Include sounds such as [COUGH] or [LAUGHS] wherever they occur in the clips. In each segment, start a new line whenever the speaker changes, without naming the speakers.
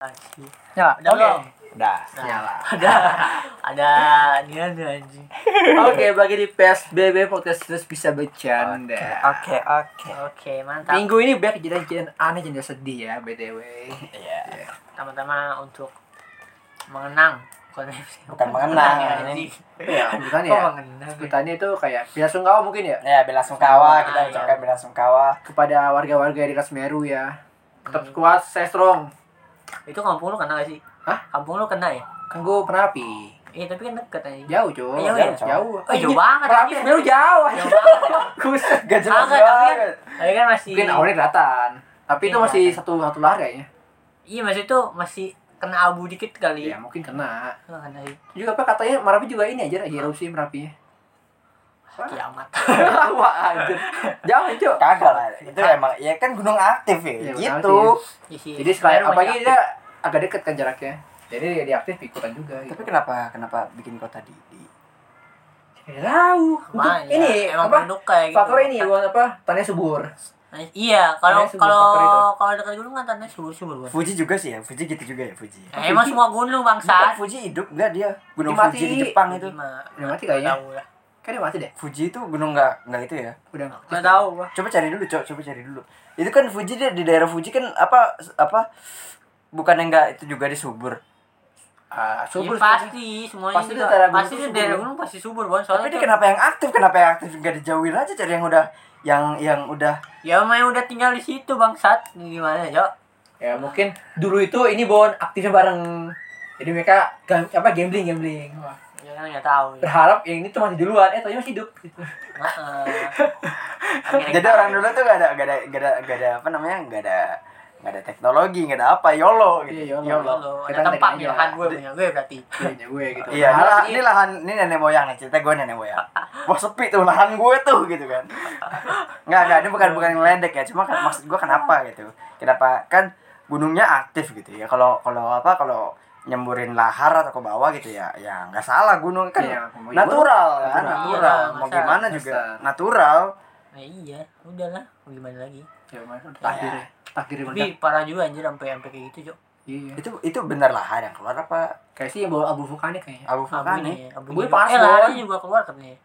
Lagi.
Nyala,
Ya,
udah
Oke.
belum?
Udah.
Nah,
Nyala.
ada ada nian anjing.
[LAUGHS] Oke, bagi di PSBB podcast terus bisa bercanda.
Oke, oke.
Oke, mantap.
Minggu ini banyak kejadian-kejadian aneh jadi sedih ya, btw.
Iya.
Pertama-tama untuk mengenang bukan
Bukan mengenang,
ya,
ini.
anjing.
Iya, [LAUGHS] bukan
Kok
ya?
mengenang? ya?
Sebutannya itu kayak bela sungkawa mungkin ya
Ya, bela sungkawa,
Ah,
kita
iya.
ucapkan bela sungkawa.
kepada warga-warga di Kasmeru ya. Tetap
Hmm.
kuat, stay strong.
Itu kampung lu kena gak sih?
Hah?
Kampung lu kena ya?
Kan gue Perapi.
Iya, tapi kan deket anjing.
Jauh, Cuk.
Jauh
ya?
jauh.
Oh, jauh banget Iya.
Perapi
anjing.
Semeru jauh.
Jauh banget.
[LAUGHS] Buset, Gak
Ah,
jelas
Agak, tapi kan,
banget.
tapi kan masih
Mungkin awalnya kelihatan. Tapi itu
Iya,
masih
kelihatan.
satu satu lah kayaknya.
Iya, maksud itu masih kena abu dikit kali.
Ya mungkin kena.
Lu kena sih.
Juga apa katanya Merapi juga ini aja erupsi
[LAUGHS]
Merapinya. Wah.
Kiamat.
Wah, anjir. Jangan, Cuk.
Kagak lah, itu emang ya kan gunung aktif
Iya, gunung
ya, gitu.
Iya sih.
Jadi sekalian
Baru masih
apalagi
aktif.
dia agak deket kan jaraknya. Jadi dia diaktif ikutan juga gitu.
Tapi kenapa kenapa bikin kota di, di
Nggak tahu.
Wah,
Mungkin ini
iya, emang
apa?
penduduk kayak gitu.
Faktor ini bukan apa? Tanahnya subur.
Nah, Iya, kalau
Tanahnya subur,
kalau
faktor itu.
kalau dekat gunung kan tanahnya subur-subur. banget.
Fuji juga sih ya, Fuji gitu juga ya Fuji.
Nah, emang semua gunung
Bukan
bangsa.
Fuji hidup enggak dia? Gunung
Mati-mati.
Fuji di Jepang itu.
Udah mati kayaknya.
Tahu lah.
Kan dia mati deh.
Fuji itu gunung enggak enggak itu ya.
Udah
Nggak tahu gua.
Coba cari dulu, Cok. Coba cari dulu. Itu kan Fuji dia di daerah Fuji kan apa apa bukan enggak itu juga di subur.
Ah, subur.
Ya, pasti semuanya
Pasti
pasti
di daerah
juga,
gunung
pasti
tuh
di daerah
subur.
gunung pasti subur bon
Tapi
soalnya
dia
tuh-
kenapa yang aktif? Kenapa yang aktif enggak dijauhin aja cari yang udah yang yang udah
ya main udah tinggal di situ bangsat gimana cok
Ya mungkin dulu itu ini Bon aktifnya bareng. Jadi mereka gam- apa gambling gambling. Wah.
ya kan nggak tahu ya.
[LAUGHS] Berharap yang ini tuh mati duluan, eh taunya masih hidup. Gitu.
Heeh. Akhirnya
Jadi
kita-
orang dulu tuh gak ada gak ada gak ada gak ada apa namanya gak ada gak ada teknologi gak ada apa YOLO gitu.
Iya, YOLO.
Lo, lo,
Kita
ada tempat
ngetek
nih
aja.
lahan gue punya gue berarti
Kayaknya gue gitu.
Iya, ini,
Berharap
lah- ini lahan ini nenek moyang nih cerita gue nenek moyang. Wah sepi tuh lahan gue tuh gitu kan. Nggak nggak ini bukan bukan ngeledek ya, cuma kan maksud gue kenapa gitu. Kenapa kan gunungnya aktif gitu ya. Kalau kalau apa kalau nyemburin lahar atau ke bawah gitu ya ya nggak salah gunung kan
Iya, mau
natural
natural.
kan natural
Iya,
mau
masa-
gimana
masa.
juga natural
nah, iya udahlah mau gimana lagi
Ya, mana takdirnya. Takdirnya meledak.
tapi parah juga anjir sampai sampai kayak gitu cok
Iya.
itu itu bener lahar yang keluar apa
Kayak sih yang bawa abu vulkanik kayaknya.
abu vulkanik
abunya ya, abunya
Gue
juga.
panas,
eh lari
Bon.
juga keluar katanya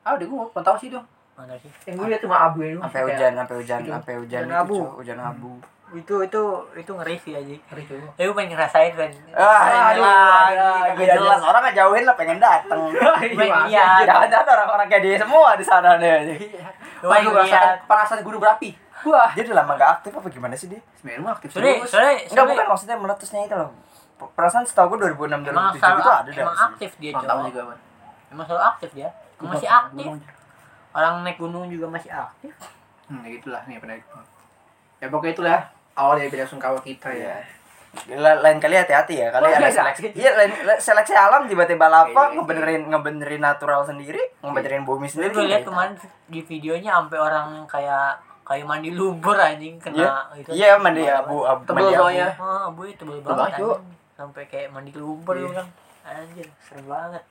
Ah, udah gue nggak tahu sih dong.
mana sih
Yang gue lihat cuma abu itu.
sampai hujan sampai hujan
Itu.
sampai hujan
Hujan
itu,
abu.
Cuk. hujan abu
Hmm.
itu itu itu ngeri sih aja
Hari itu.
Eh, gue pengen ngerasain kan
ah
aduh, aduh,
lagi
aduh,
gak jelas
aduh.
orang ngejauhin lah pengen
[LAUGHS]
dateng
iya.
jangan-jangan orang-orang kayak dia semua di sana deh
Iya.
gue pengen lihat
panasan gunung berapi. Wah.
dia udah lama gak aktif apa gimana sih dia
Semeru mah aktif
Soalnya,
terus.
soalnya,
enggak
soalnya
bukan maksudnya meletusnya itu loh P- perasaan setahu gue 2006
emang
2007
selalu
itu ada deh
emang aktif dia
Nggak tahu
cowok.
juga, Bang.
Emang selalu aktif dia. Masih aktif. Orang naik gunung juga masih aktif.
Hmm, ya gitulah nih pernah itu. Ya pokoknya itulah awal dari bela sungkawa kita ya.
Iya. La- lain kali hati-hati ya kali
Oh,
ada
iya,
seleksi iya lain la- seleksi alam tiba-tiba
Iya,
lapang
iya.
ngebenerin ngebenerin natural sendiri ngebenerin bumi
Jadi
sendiri
gue lihat
Iya.
kemarin di videonya sampai orang yang kayak kayak mandi lumpur anjing kena itu.
iya mandi abu abu
Tebel
mandi abu.
soalnya.
Ah, bu itu tebel
Tebel
banget.
banget, Cuk.
anjing. Sampai kayak mandi lumpur
Iya.
lu kan. Anjir, serem banget.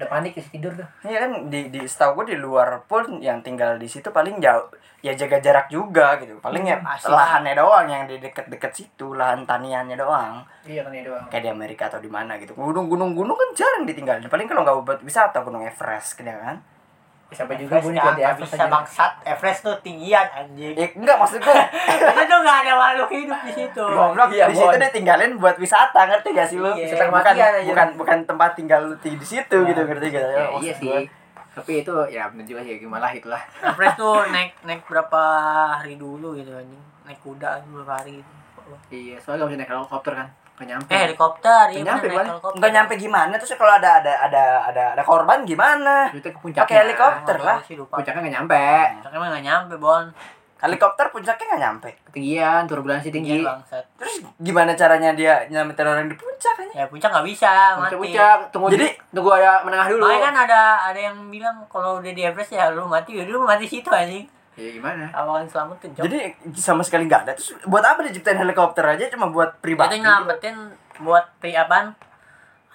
Udah panik ya tidur tuh.
Iya kan di di setahu gue di luar pun yang tinggal di situ paling jauh ya jaga jarak juga gitu. Paling
Hmm,
ya
Pasti.
lahannya doang yang di deket-deket situ, lahan taniannya doang.
Iya kan ya doang.
Kayak di Amerika atau di mana gitu. Gunung-gunung gunung kan jarang ditinggalin. Paling kalau nggak buat wisata gunung Everest gitu kan.
Sampai Ya, juga
Everest
gue
nggak
nikah di
nggak
atas
bisa
aja.
bangsat. Everest tuh tinggian anjing.
Ya enggak maksud gue.
[LAUGHS]
Itu tuh nggak ada makhluk hidup di situ.
Goblok
Iya,
di situ
Bon.
ditinggalin buat wisata, ngerti gak sih lu?
Iya.
Wisata bukan,
kematian aja.
bukan bukan tempat tinggal lu di di situ gitu, ngerti gak?
Ya,
Maksud
iya
gue.
sih. Tapi itu ya bener juga sih gimana lah itulah.
Everest tuh naik naik berapa hari dulu gitu anjing. Naik kuda anjing berapa hari gitu.
Iya, soalnya gak bisa naik helikopter kan. Gak nyampe.
Eh helikopter, iya
Nggak nyampe,
bener, naik
Bang.
helikopter.
Enggak nyampe gimana terus kalau ada ada ada ada ada korban gimana?
Kita ke puncaknya.
Pakai helikopter lah.
Sih, lupa.
Puncaknya gak nyampe.
Puncaknya mah nggak nyampe Bon.
Helikopter puncaknya nggak nyampe.
Ketinggian, turbulensi
Tinggi
tinggi.
Iya, bangsat.
Terus gimana caranya dia nyelamatin orang di puncak kan?
Ya puncak nggak bisa mati.
Puncak-puncak, tunggu
Jadi-
jadi tunggu ada menengah dulu.
Makanya kan ada ada yang bilang kalau udah di Everest ya lu mati, ya lu mati situ anjing.
Iya gimana?
Awalan selamatin Jok.
Jadi sama sekali nggak ada. Terus buat apa diciptain helikopter aja cuma buat
itu
pribadi?
nyelamatin buat pri apaan?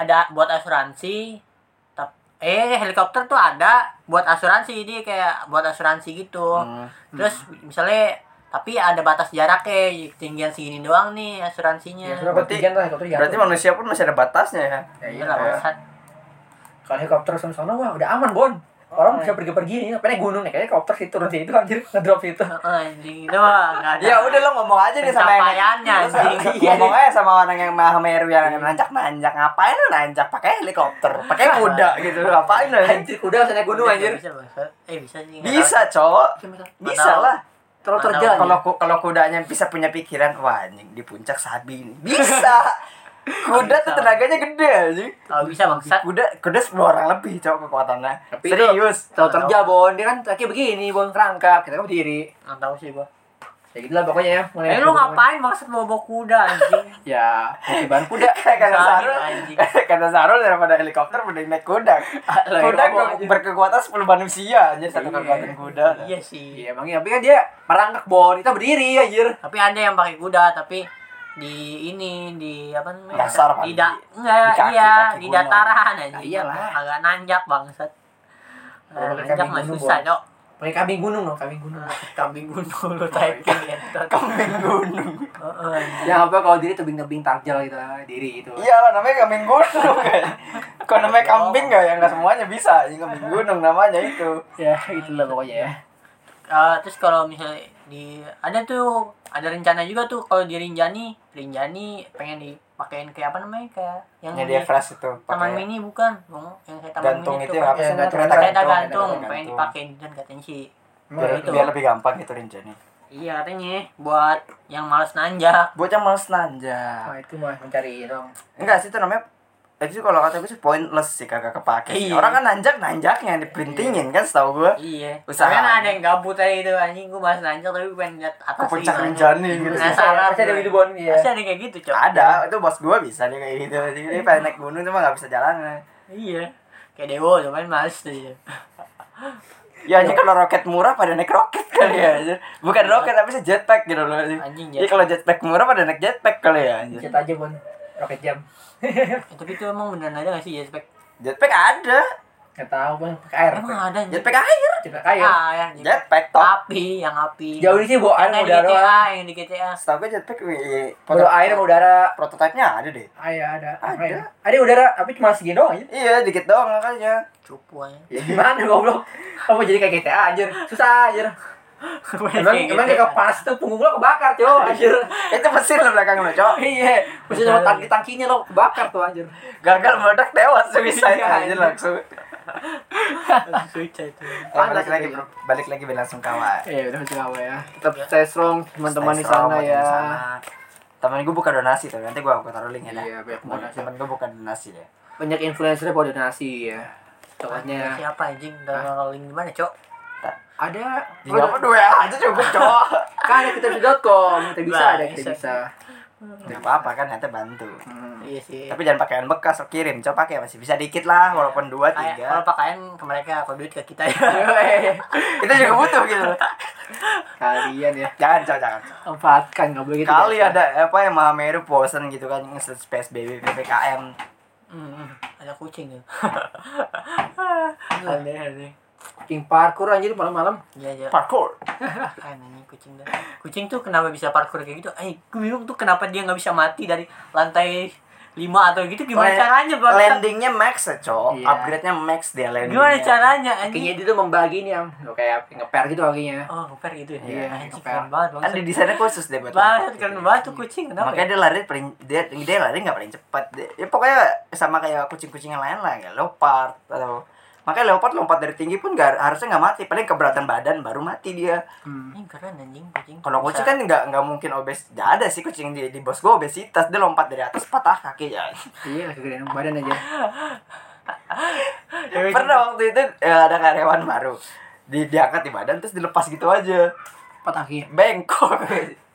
Ada buat asuransi. Tap- Eh helikopter tuh ada buat asuransi dia kayak buat asuransi gitu.
Hmm.
Terus misalnya tapi ada batas jaraknya ketinggian segini doang nih asuransinya ya,
Ya, sudah
Berarti-
bertiga lah helikopter jatuh.
Berarti manusia pun masih ada batasnya ya.
iya
lah
iya.
bangsat.
Kalau helikopter sana sana wah udah aman bon. Orang bisa pergi-pergi ini, naik gunung naik helikopter situ turun situ anjir ngedrop situ.
Heeh, anjing doang nggak ada
Ya udah lo ngomong aja nih sama yang
Pencapaiannya,
Lo sama- [LAUGHS]
anjing. Hmm.
Ngomong aja sama orang yang Mahameru yang nanjak-nanjak Ngapain lo nanjak? Pakai helikopter, pakai
[LAUGHS]
kuda gitu Ngapain lo nanjak?
Anjir udah naik gunung
Bisa,
anjir.
bisa, bangsat. eh bisa sih nggak
Bisa cowok Bisa
Mana-
lah
Terus
Mana-
terjal.
Kalau ku- kalau kudanya bisa punya pikiran Wah anjing di puncak sabi ini
[LAUGHS]
Bisa Kuda tuh tenaganya gede anjing
tahu. tahu bisa bangsat
Kuda, kuda 10 orang lebih cowok kekuatannya
Tapi itu-
Serius
Terus terjal bon, dia kan kaki begini bon kerangkap, kita kan berdiri.
nggak tahu sih gua
Ya gitulah pokoknya ya. mulai
eh
naik
lu
gunung.
ngapain bangsat bawa bawa kuda
[LAUGHS]
anjing
Ya, ketiban kuda.
Kata
Sabi,
Sarul,
anjing.
[LAUGHS] kata Sarul daripada helikopter mending naik kuda.
Lah,
Kuda
iya,
ke-
aja.
berkekuatan 10 manusia, jadi satu
Iya.
kekuatan kuda.
iya sih
Iya bang, tapi kan dia merangkak bon, kita berdiri anjir.
tapi ada yang pakai kuda tapi di ini di apa namanya
Dasar, Pak.
tidak
Di
enggak iya
kaki- kaki
di
gunung. Iya
dataran aja
Nah, iyalah.
agak nanjak bangsat
Kalau pakai
nanjak
kambing
mah
gunung,
susah
Bol.
cok
Pakai kambing gunung loh, [LAUGHS] kambing gunung.
kambing gunung lu typing ya
Kambing gunung.
Heeh.
Yang Ya, apa kalau diri tebing-tebing tarjal gitu, diri gitu.
Iya lah namanya kambing gunung kan. Kalau namanya kambing nggak ya nggak semuanya bisa. Ini kambing gunung namanya itu.
Ya, gitulah pokoknya ya.
Eh, terus kalau misalnya di ada tuh ada rencana juga tuh kalau di Rinjani Rinjani pengen dipakein kayak apa namanya kayak yang
Yang
di
dia keras itu.
taman
pakai
mini bukan Bung. yang kayak taman
Gantung
mini
itu
tuh
yang
Iya,
apa sih?
gantung,
Kereta
kereta gantung
gantung. kereta
pengen
gantung.
dipakein dan katanya sih
Biar,
Iya,
Itu.
biar lebih gampang gitu rencananya.
Iya katanya buat yang males nanjak.
Buat yang males nanjak.
Nah, itu mah mencari dong.
Enggak sih itu namanya itu kalau kata gue sih pointless sih kagak kepake. sih.
Iya.
Orang kan nanjak nanjaknya diprintingin kan setahu gue.
Iya.
Usaha.
Karena ada yang gabut aja itu anjing gua males nanjak tapi pengen lihat
Ke
atas.
puncak
gimana.
Rinjani gitu sih.
Penasaran.
Pasti ada gitu bon,
Pasti
iya.
ada yang kayak gitu, Cok.
Ada, itu bos gue bisa dia kayak gitu. Jadi dia pengen naik gunung cuma gak bisa jalan.
Iya. Kayak Dewo cuman males tuh dia.
Ya aja kalau roket murah pada naik roket kali ya. anjir. Bukan roket tapi sih jetpack gitu loh. anjir.
Anjing,
Jadi kalau jetpack murah pada naik jetpack kali ya. anjir.
Cet aja bon, roket jam. [LAUGHS]
Eh, tapi itu emang beneran ada gak sih ya? jetpack?
Jetpack ada.
Gak tau bang, pakai air.
Emang ada anjing.
Jetpack air.
Cepat kaya.
Ah, ya, jetpack.
Jetpack top.
Api, yang api.
Jauh di sini bawa
yang
air sama
di
udara.
GTA,
doang.
yang di GTA.
Setahu gue jetpack eh,
Bawa
proto-
air sama udara.
prototipenya ada deh.
Ah, ya, ada.
Ada.
Ada. Ada udara, tapi cuma segini doang aja.
Iya, dikit doang makanya.
Cupu aja.
Ya gimana goblok? Kamu jadi kayak GTA anjir. Susah anjir. Emang
Iya,
emang
gitu.
kayak
[LAUGHS]
kepanas tuh punggung lo kebakar, coy. Anjir.
Itu mesin lo belakang lo, Cok.
Iya, mesti sama tangki-tangkinya lo kebakar tuh anjir.
Gagal meledak tewas bisa
Iya,
aja langsung.
Suica itu.
Eh, balik lagi, bro. Balik lagi langsung kawan.
Iya, udah coba ya. Tetap stay strong teman-teman di
Stay strong
sana
buat yang
ya.
di sana. Temen gue buka donasi tuh, nanti gue aku taruh linknya dah.
Iya, banyak
Temen,
donasi.
temen gue buka donasi ya.
Banyak influencer yang bawa donasi ya. Pokoknya
Siapa anjing?
Ah.
Dan rolling gimana, Cok?
ada
Di apa dua aja cukup cowok.
kan ada kita bisa.com, kita bisa
Nah,
ada kita
bisa.
bisa.
[LAUGHS] Gak apa-apa kan nanti bantu.
Hmm. [LAUGHS]
Iya sih.
Tapi jangan pakaian bekas, lo kirim. Coba pakai masih bisa dikit lah, walaupun dua
Kayak
tiga.
kalau pakaian ke mereka, kalau duit ke kita ya.
[LAUGHS]
Iya.
[LAUGHS]
Kita juga butuh [LAUGHS] gitu. loh.
Kalian ya
Jangan cowok jangan. Cok.
manfaatkan nggak boleh gitu.
Kali
guys.
ada apa yang Mahameru bosen gitu kan nge-search PSBB, PPKM.
Hmm, ada kucing
[LAUGHS]
tuh. [LAUGHS] aneh aneh.
kucing parkur anjir malam-malam.
Ya ya.
Parkour.
Aneh kucing dah. Kucing tuh kenapa bisa parkur kayak gitu? Eh, gue bingung tuh kenapa dia nggak bisa mati dari lantai 5 atau gitu gimana
Le-
caranya, Bang?
Landingnya max ya cowok.
Iya.
Upgrade-nya max dia landingnya.
Gimana caranya
Kakinya
anjing?
dia tuh membagi nih am. Lo kayak ngeper gitu kakinya.
Oh, ngeper gitu ya.
Iya,
anjing
ngeper.
keren banget, Bang.
Kan di desainnya khusus deh buat
Banget
tempat
keren
gitu.
banget tuh kucing. Kenapa?
Makanya
ya?
dia lari paling dia dia lari nggak paling cepat. Dia- ya pokoknya sama kayak kucing-kucing yang lain lah, kayak leopard atau makanya leopard lompat dari tinggi pun nggak harusnya nggak mati, paling keberatan badan baru mati dia.
Hmm.
Anjing keren anjing kucing.
Kalau
Bisa.
kucing kan nggak nggak mungkin obes, nggak ada sih kucing di, di bos gua obesitas dia lompat dari atas patah kaki ya.
Iya, kegedean badan aja.
[LAUGHS] Ya,
Pernah waktu itu eh, ada karyawan baru di, diangkat di badan terus dilepas gitu aja
Patah kakinya.
bengkok [LAUGHS]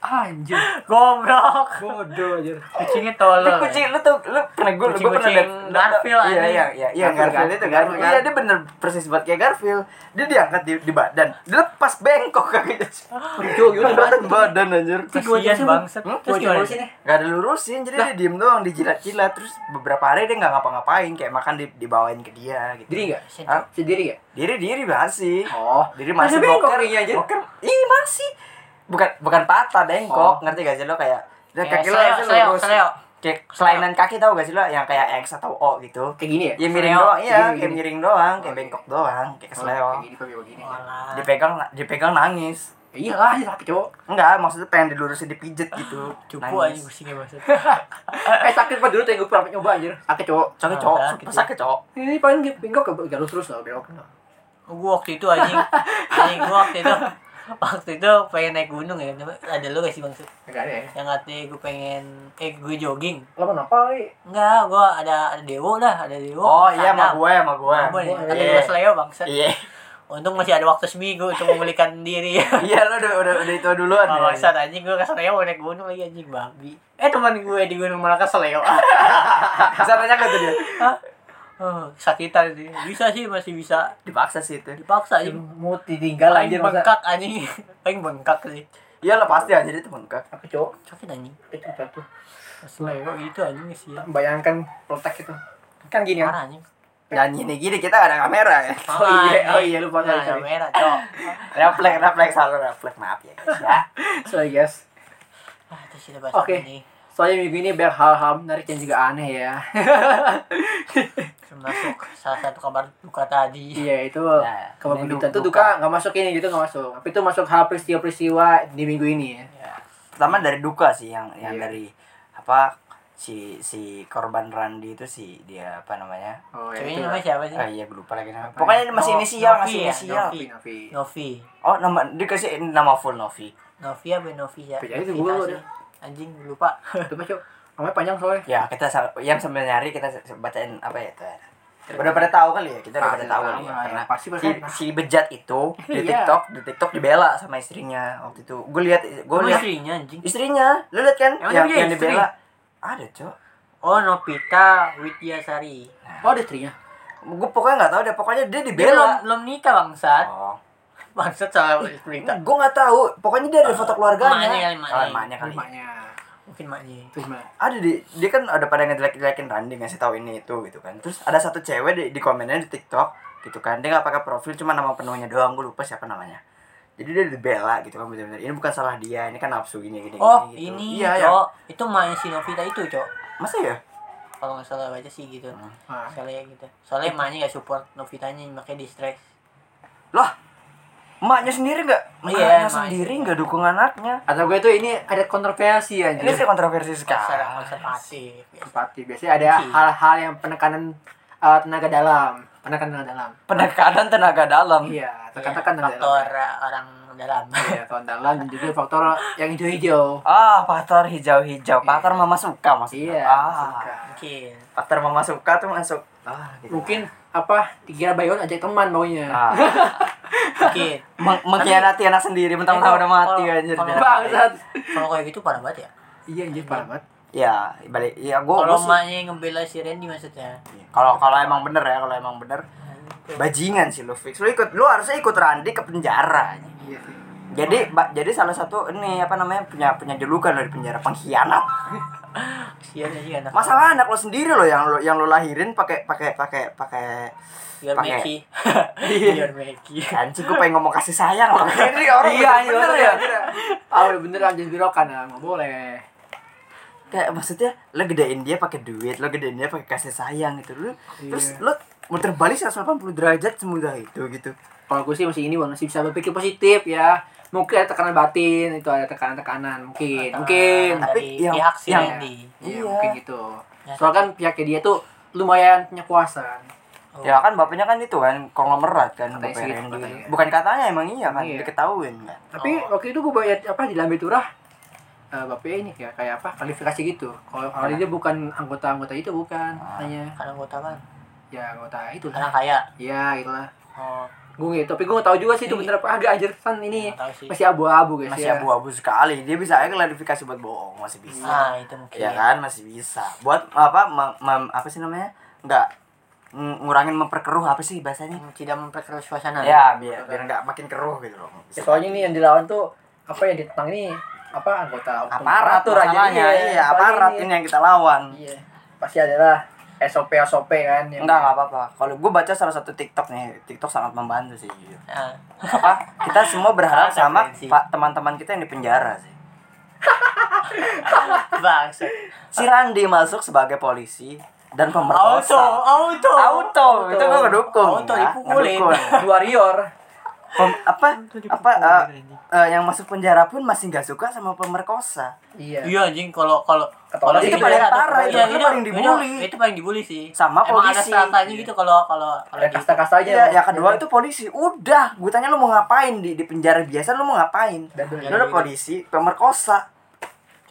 Anjir.
[LAUGHS] goblok.
Bodoh anjir.
Kucingnya
Lu
tolol.
kucing lu tuh lu pernah gue gue pernah
Kucing-kucing
liat- lu- lu-
Garfield
iya
anjing.
iya iya iya
Garfield,
Garfield itu
Garfield,
Garfield
kan?
iya dia bener persis buat kayak Garfield dia diangkat di, di badan dilepas
[GASPS]
bengkok kakinya
Bodoh gitu banget.
badan badan anjir
Kasihan bangset.
Hmm?
Terus gimana?
sih nih?
Gak ada lurusin jadi dia diem doang dijilat-jilat terus beberapa hari dia nggak ngapa-ngapain kayak makan di, dibawain ke dia gitu
Diri nggak?
Kasihan.
Hah?
Sendiri ya? nggak?
diri diri masih
Oh,
diri
Ada
masih
bengkok
boker
ini anjir.
boker iya masih bukan bukan patah bengkok
Oh.
ngerti gak sih lo kayak dan
Kayak
kaki lo
seleo,
itu
seleo,
lurus
seleo.
kayak selainan kaki tau gak sih lo yang kayak X atau O gitu
Kayak gini ya?
ya miring
Seleo.
doang iya
Gini,
kayak
gini.
miring ya. doang kayak
Oh,
bengkok doang kayak seleo
Kayak gitu. gini, kayak begini.
Walah.
dipegang dipegang nangis
Ya iyalah, ya tapi cowok.
enggak maksudnya pengen dilurusin dipijet gitu
Ah, Cupu aja
Nangis.
pusingnya maksud.
Eh sakit banget dulu tuh yang gue pernah nyoba anjir. Sakit cowok.
Sakit
Ah,
cowok,
sakit
super
ya.
sakit cowok.
Ini paling dia bengkok ke jalur terus lah bengkok.
gua waktu itu anjing anjing gua waktu itu waktu itu pengen naik gunung ya Cuma ada lu gak sih maksud
Enggak ada ya.
yang katanya gua pengen eh gue jogging
Lama napa? eh?
enggak gua ada ada dewo lah ada dewo
Oh iya sama
Sadam.
gue, sama gue.
Sama gue nih,
Sama
kata
gue.
gua seleo bangsa
Iya.
untung masih ada waktu seminggu untuk memulihkan [LAUGHS] diri
Iya lo udah udah udah itu duluan.
Oh,
ya.
bangsat anjing gue ke Seleo mau naik gunung lagi anjing babi. Eh teman gue di Gunung Malaka [LAUGHS] Seleo.
Bisa tanya ke tuh dia.
oh, sakitan sih. Bisa sih masih bisa
Dipaksa sih itu.
dipaksa
Anjing,
anjing.
Mau ditinggal
Paling
anjir masa.
bengkak anjing. [LAUGHS] Paling bengkak sih.
Iya lo pasti aja itu bengkak.
Apa cowok?
Sakit anjing.
Itu satu.
Seleo gitu anjing sih. Ya.
Bayangkan protek itu. Kan gini kan.
Parah anjing.
Nyanyi nih gini kita gak ada kamera ya.
[LAUGHS] Oh iya, oh iya lupa
Nah,
kali cowok.
merah, cok.
Refleks, refleks selalu refleks maaf ya guys ya.
So guys,
Ah, itu sudah bahas
Oke.
ini.
soalnya minggu ini banyak hal-hal menarik dan juga aneh ya. [LAUGHS]
Termasuk salah satu kabar duka tadi.
Iya itu
Nah,
kabar
ini
berita
duka.
itu duka nggak masuk ini gitu nggak masuk. Tapi itu masuk hal peristiwa-peristiwa di minggu ini ya.
Ya.
Pertama dari duka sih yang yang
Iya.
dari apa si si korban Randi itu si dia apa namanya?
Oh
Ceweknya namanya siapa sih?
Ah iya gue lupa lagi namanya. Pokoknya ini masih
No-
inisial,
Novi
masih
ya?
inisial.
Novi.
Novi.
Novi.
Oh nama dikasih nama full Novi.
Novi apa Novi ya?
Tapi jadi
Novi
gue
tau sih.
udah.
Anjing
[LAUGHS]
lupa.
Coba cok, namanya panjang soalnya.
Ya, kita sal- yang sambil nyari kita s- bacain apa ya itu. Udah pada tahu kali ya, kita udah
Ah,
pada
udah
tahu
tahu
kali ya.
lah ya.
iya,
Karena
Pasti
si,
pasti pernah.
si bejat itu di
Iya.
TikTok, di TikTok dibela sama istrinya waktu itu. Gue lihat gue
Gue
lihat
istrinya anjing.
istrinya. Lu lihat kan
Emang
yang,
dia
yang
istri?
dibela. Ada, Cok.
Oh, Novita Widyasari.
Oh ada istrinya.
Gue pokoknya nggak tahu deh, pokoknya Nah, dia
Dia belum
dibela.
belum nikah bangsat.
Oh.
Bangsat sama Novita.
Gue nggak tahu, pokoknya dia ada foto keluarganya.
Ah. Emaknya kali, emaknya.
Oh, emaknya kali.
Rumahnya.
Mungkin
Iya,
maknya.
gitu.
Itu gimana?
ada di dia kan ada pada ngejelek-jelekin Randy ngasih tahu ini itu gitu kan terus ada satu cewek di, di komennya di TikTok gitu kan dia nggak pakai profil cuma nama penuhnya doang gue lupa siapa namanya jadi dia dibela gitu kan bener-bener ini bukan salah dia ini kan nafsu gini gini
Oh,
gini, gitu.
ini,
iya ya
Cok. Itu emaknya si Novita itu, Cok.
masa ya
Kalau nggak salah baca sih gitu.
Ah.
Soalnya gitu. Soalnya emaknya nggak support Novitanya, makanya di stres.
lah emaknya sendiri nggak
Iya,
emaknya
emaknya.
sendiri nggak dukung anaknya
Atau gue tuh ini ada kontroversi ya,
ini
anjir.
sih kontroversi
Secara
sekali
konservatif. ya.
Pasti biasanya ada
Iya.
hal-hal yang penekanan eh, tenaga dalam, penekanan tenaga dalam.
penekanan tenaga dalam
Iya,
Iya,
tekan tekan tenaga
faktor
dalam.
uh, orang dalam.
Iya, tahun dalam dan juga faktor yang hijau-hijau.
ah faktor hijau-hijau faktor mama suka
Iya,
maksudnya ah,
suka.
Mungkin.
faktor mama suka tuh masuk ah, gitu.
Mungkin apa dikira Bayon ajak teman maunya.
ah.
Mungkin.
Meng- mengkhianati anak sendiri mentang-mentang
Itu
udah mati
kalau-
anjir. Iya,
kalau-
Bangsat.
Kalau kayak gitu parah banget ya.
Iya anjir parah banget.
Ya, balik ya gua
Kalau
gua sih-
emaknya yang ngebela si Randy maksudnya.
kalau kalau emang bener ya, kalau emang bener bajingan sih lu fix. Lu ikut lu harusnya ikut Randi ke penjara. anjing.
Iya sih.
Jadi ba- jadi salah satu ini apa namanya punya punya julukan lo di penjara pengkhianat.
Kasihan sih anak.
Masalah anak lo sendiri lo yang lo yang lo lahirin pakai pakai pakai pakai
Biar
pakai- Iya.
Meki.
[LAUGHS]
Biar Meki.
anjing gua pengen ngomong kasih sayang lo. Ini orang
Iya,
bener,
bener
ya.
ya. Ah, udah bener anjir birokan ah, nggak boleh.
kayak maksudnya lo gedein dia pakai duit lo gedein dia pakai kasih sayang gitu lu
Iya.
terus lo muter balik 180 derajat semudah itu gitu
Kalau gue sih masih ini Bang, masih bisa berpikir positif ya. Mungkin ada tekanan batin, itu ada tekanan-tekanan mungkin. Mungkin.
Dari
Tapi yang-
pihak si
yang-
Randy.
Iya,
Iya.
mungkin gitu.
Ya.
Soalnya kan pihaknya dia tuh lumayan punya kuasa. kan.
Oh.
ya kan bapaknya kan itu kan konglomerat kan
Katanya
bapaknya
sih,
Randy.
katanya.
bukan katanya emang iya kan
Iya.
diketahuin kan
Tapi
Oh.
waktu itu gue bayar apa di Lambe Turah eh, bapaknya ini kayak kayak apa kualifikasi gitu kalau kalau dia bukan anggota-anggota itu bukan
Ah.
hanya
Karena gue tahu kan.
ya anggota itu
Orang
lah
kaya.
ya itulah
Oh,
gue nggak tapi gue nggak tahu juga sih itu
Iya.
Ini-
bener apa agak anjir san ini
nggak tahu sih.
masih abu-abu guys
masih
ya.
abu-abu sekali dia bisa aja klarifikasi buat bohong masih bisa
Nah,
Ah,
itu mungkin.
iya.
ya kan masih bisa buat apa mem- mem- apa sih namanya nggak ng- ngurangin memperkeruh apa sih bahasanya
Hmm, Tidak memperkeruh suasana.
ya biar biar nggak makin keruh gitu loh
Nah. Ya, soalnya nih yang dilawan tuh apa yang ditentang ini apa anggota
aparat Iya,
aja
masalahnya iya aparat ini yang kita lawan
iya pasti adalah SOP SOP kan yang
Enggak, enggak apa-apa. Kalau gue baca salah satu TikTok nih, TikTok sangat membantu sih. jujur.
[LAUGHS] Ah.
Apa? Kita semua berharap
Sangat
sama
referensi.
pak teman-teman kita yang di penjara sih.
Bangsa.
Si Randi masuk sebagai polisi dan
Auto,
pemerkosa.
auto.
Auto, itu gue ngedukung.
Auto
ya,
dipukulin.
ngedukung.
warrior
Pem- apa apa
dipukulin,
eh,
anjing.
eh, yang masuk penjara pun masih nggak suka sama pemerkosa.
iya
Iya anjing kalau kalau kalau
Ketolak itu
di
paling
daerah
parah,
tuh,
itu
iya,
kan paling dibully.
Itu, itu paling dibully sih.
Sama
Emang ada
polisi.
stratanya gitu kalau kalau kalau gitu.
ada
di-
kasta kasta aja
Iya, yang kedua itu polisi. Udah, gue tanya lu mau ngapain di di penjara biasa lu mau ngapain?
Dan dulu-
Lu udah
gitu.
polisi, pemerkosa.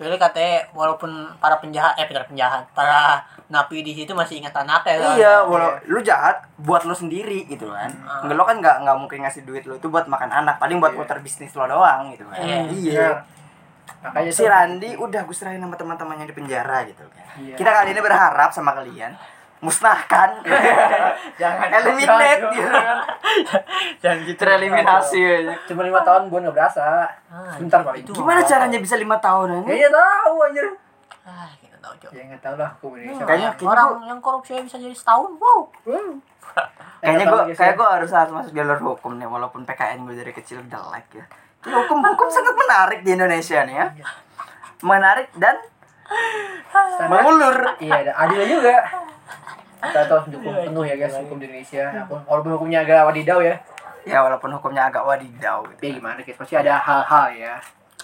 Kecuali katanya walaupun para penjahat eh para penjahat, para napi di situ masih ingat anaknya kan.
Iya, walau lu jahat buat lu sendiri gitu kan.
Ah.
Nggak, Lu kan nggak nggak mungkin ngasih duit lu itu buat makan anak, paling buat
Iya.
muter bisnis lo doang gitu kan.
Iya.
Iya.
Nah, makanya
Si
tuh-
Randi udah gue serahin sama teman-temannya di penjara gitu kan.
Iya.
Kita kali ini berharap sama kalian musnahkan,
jangan
eliminate gitu kan.
Dan gitu.
Tereliminasi aja.
cuma lima tahun gue nggak berasa
Ah,
sebentar paling
itu.
Gimana caranya bisa lima tahun aja?
kayaknya tahu anjir
Ah, kita tahu Cok.
ya nggak tahu lah aku Indonesia Eh,
Kayaknya-
Orang- orang yang korupsi aja bisa jadi setahun, wow.
Wow.
Kayaknya
Nggak
gue
tahu lagi sih.
kayak gue harus harus masuk jalur hukum nih walaupun PKN gue dari kecil jelek ya. Tapi Hukum hukum sangat menarik di Indonesia nih ya. Menarik dan
Standar-
mengulur.
Iya, ada adilnya juga. Kita harus mendukung penuh ya guys hukum di Indonesia. Aku- Walaupun hukumnya agak wadidau ya.
Ya walaupun hukumnya agak wadidau gitu.
Tapi ya gimana guys, pasti ada hal-hal ya.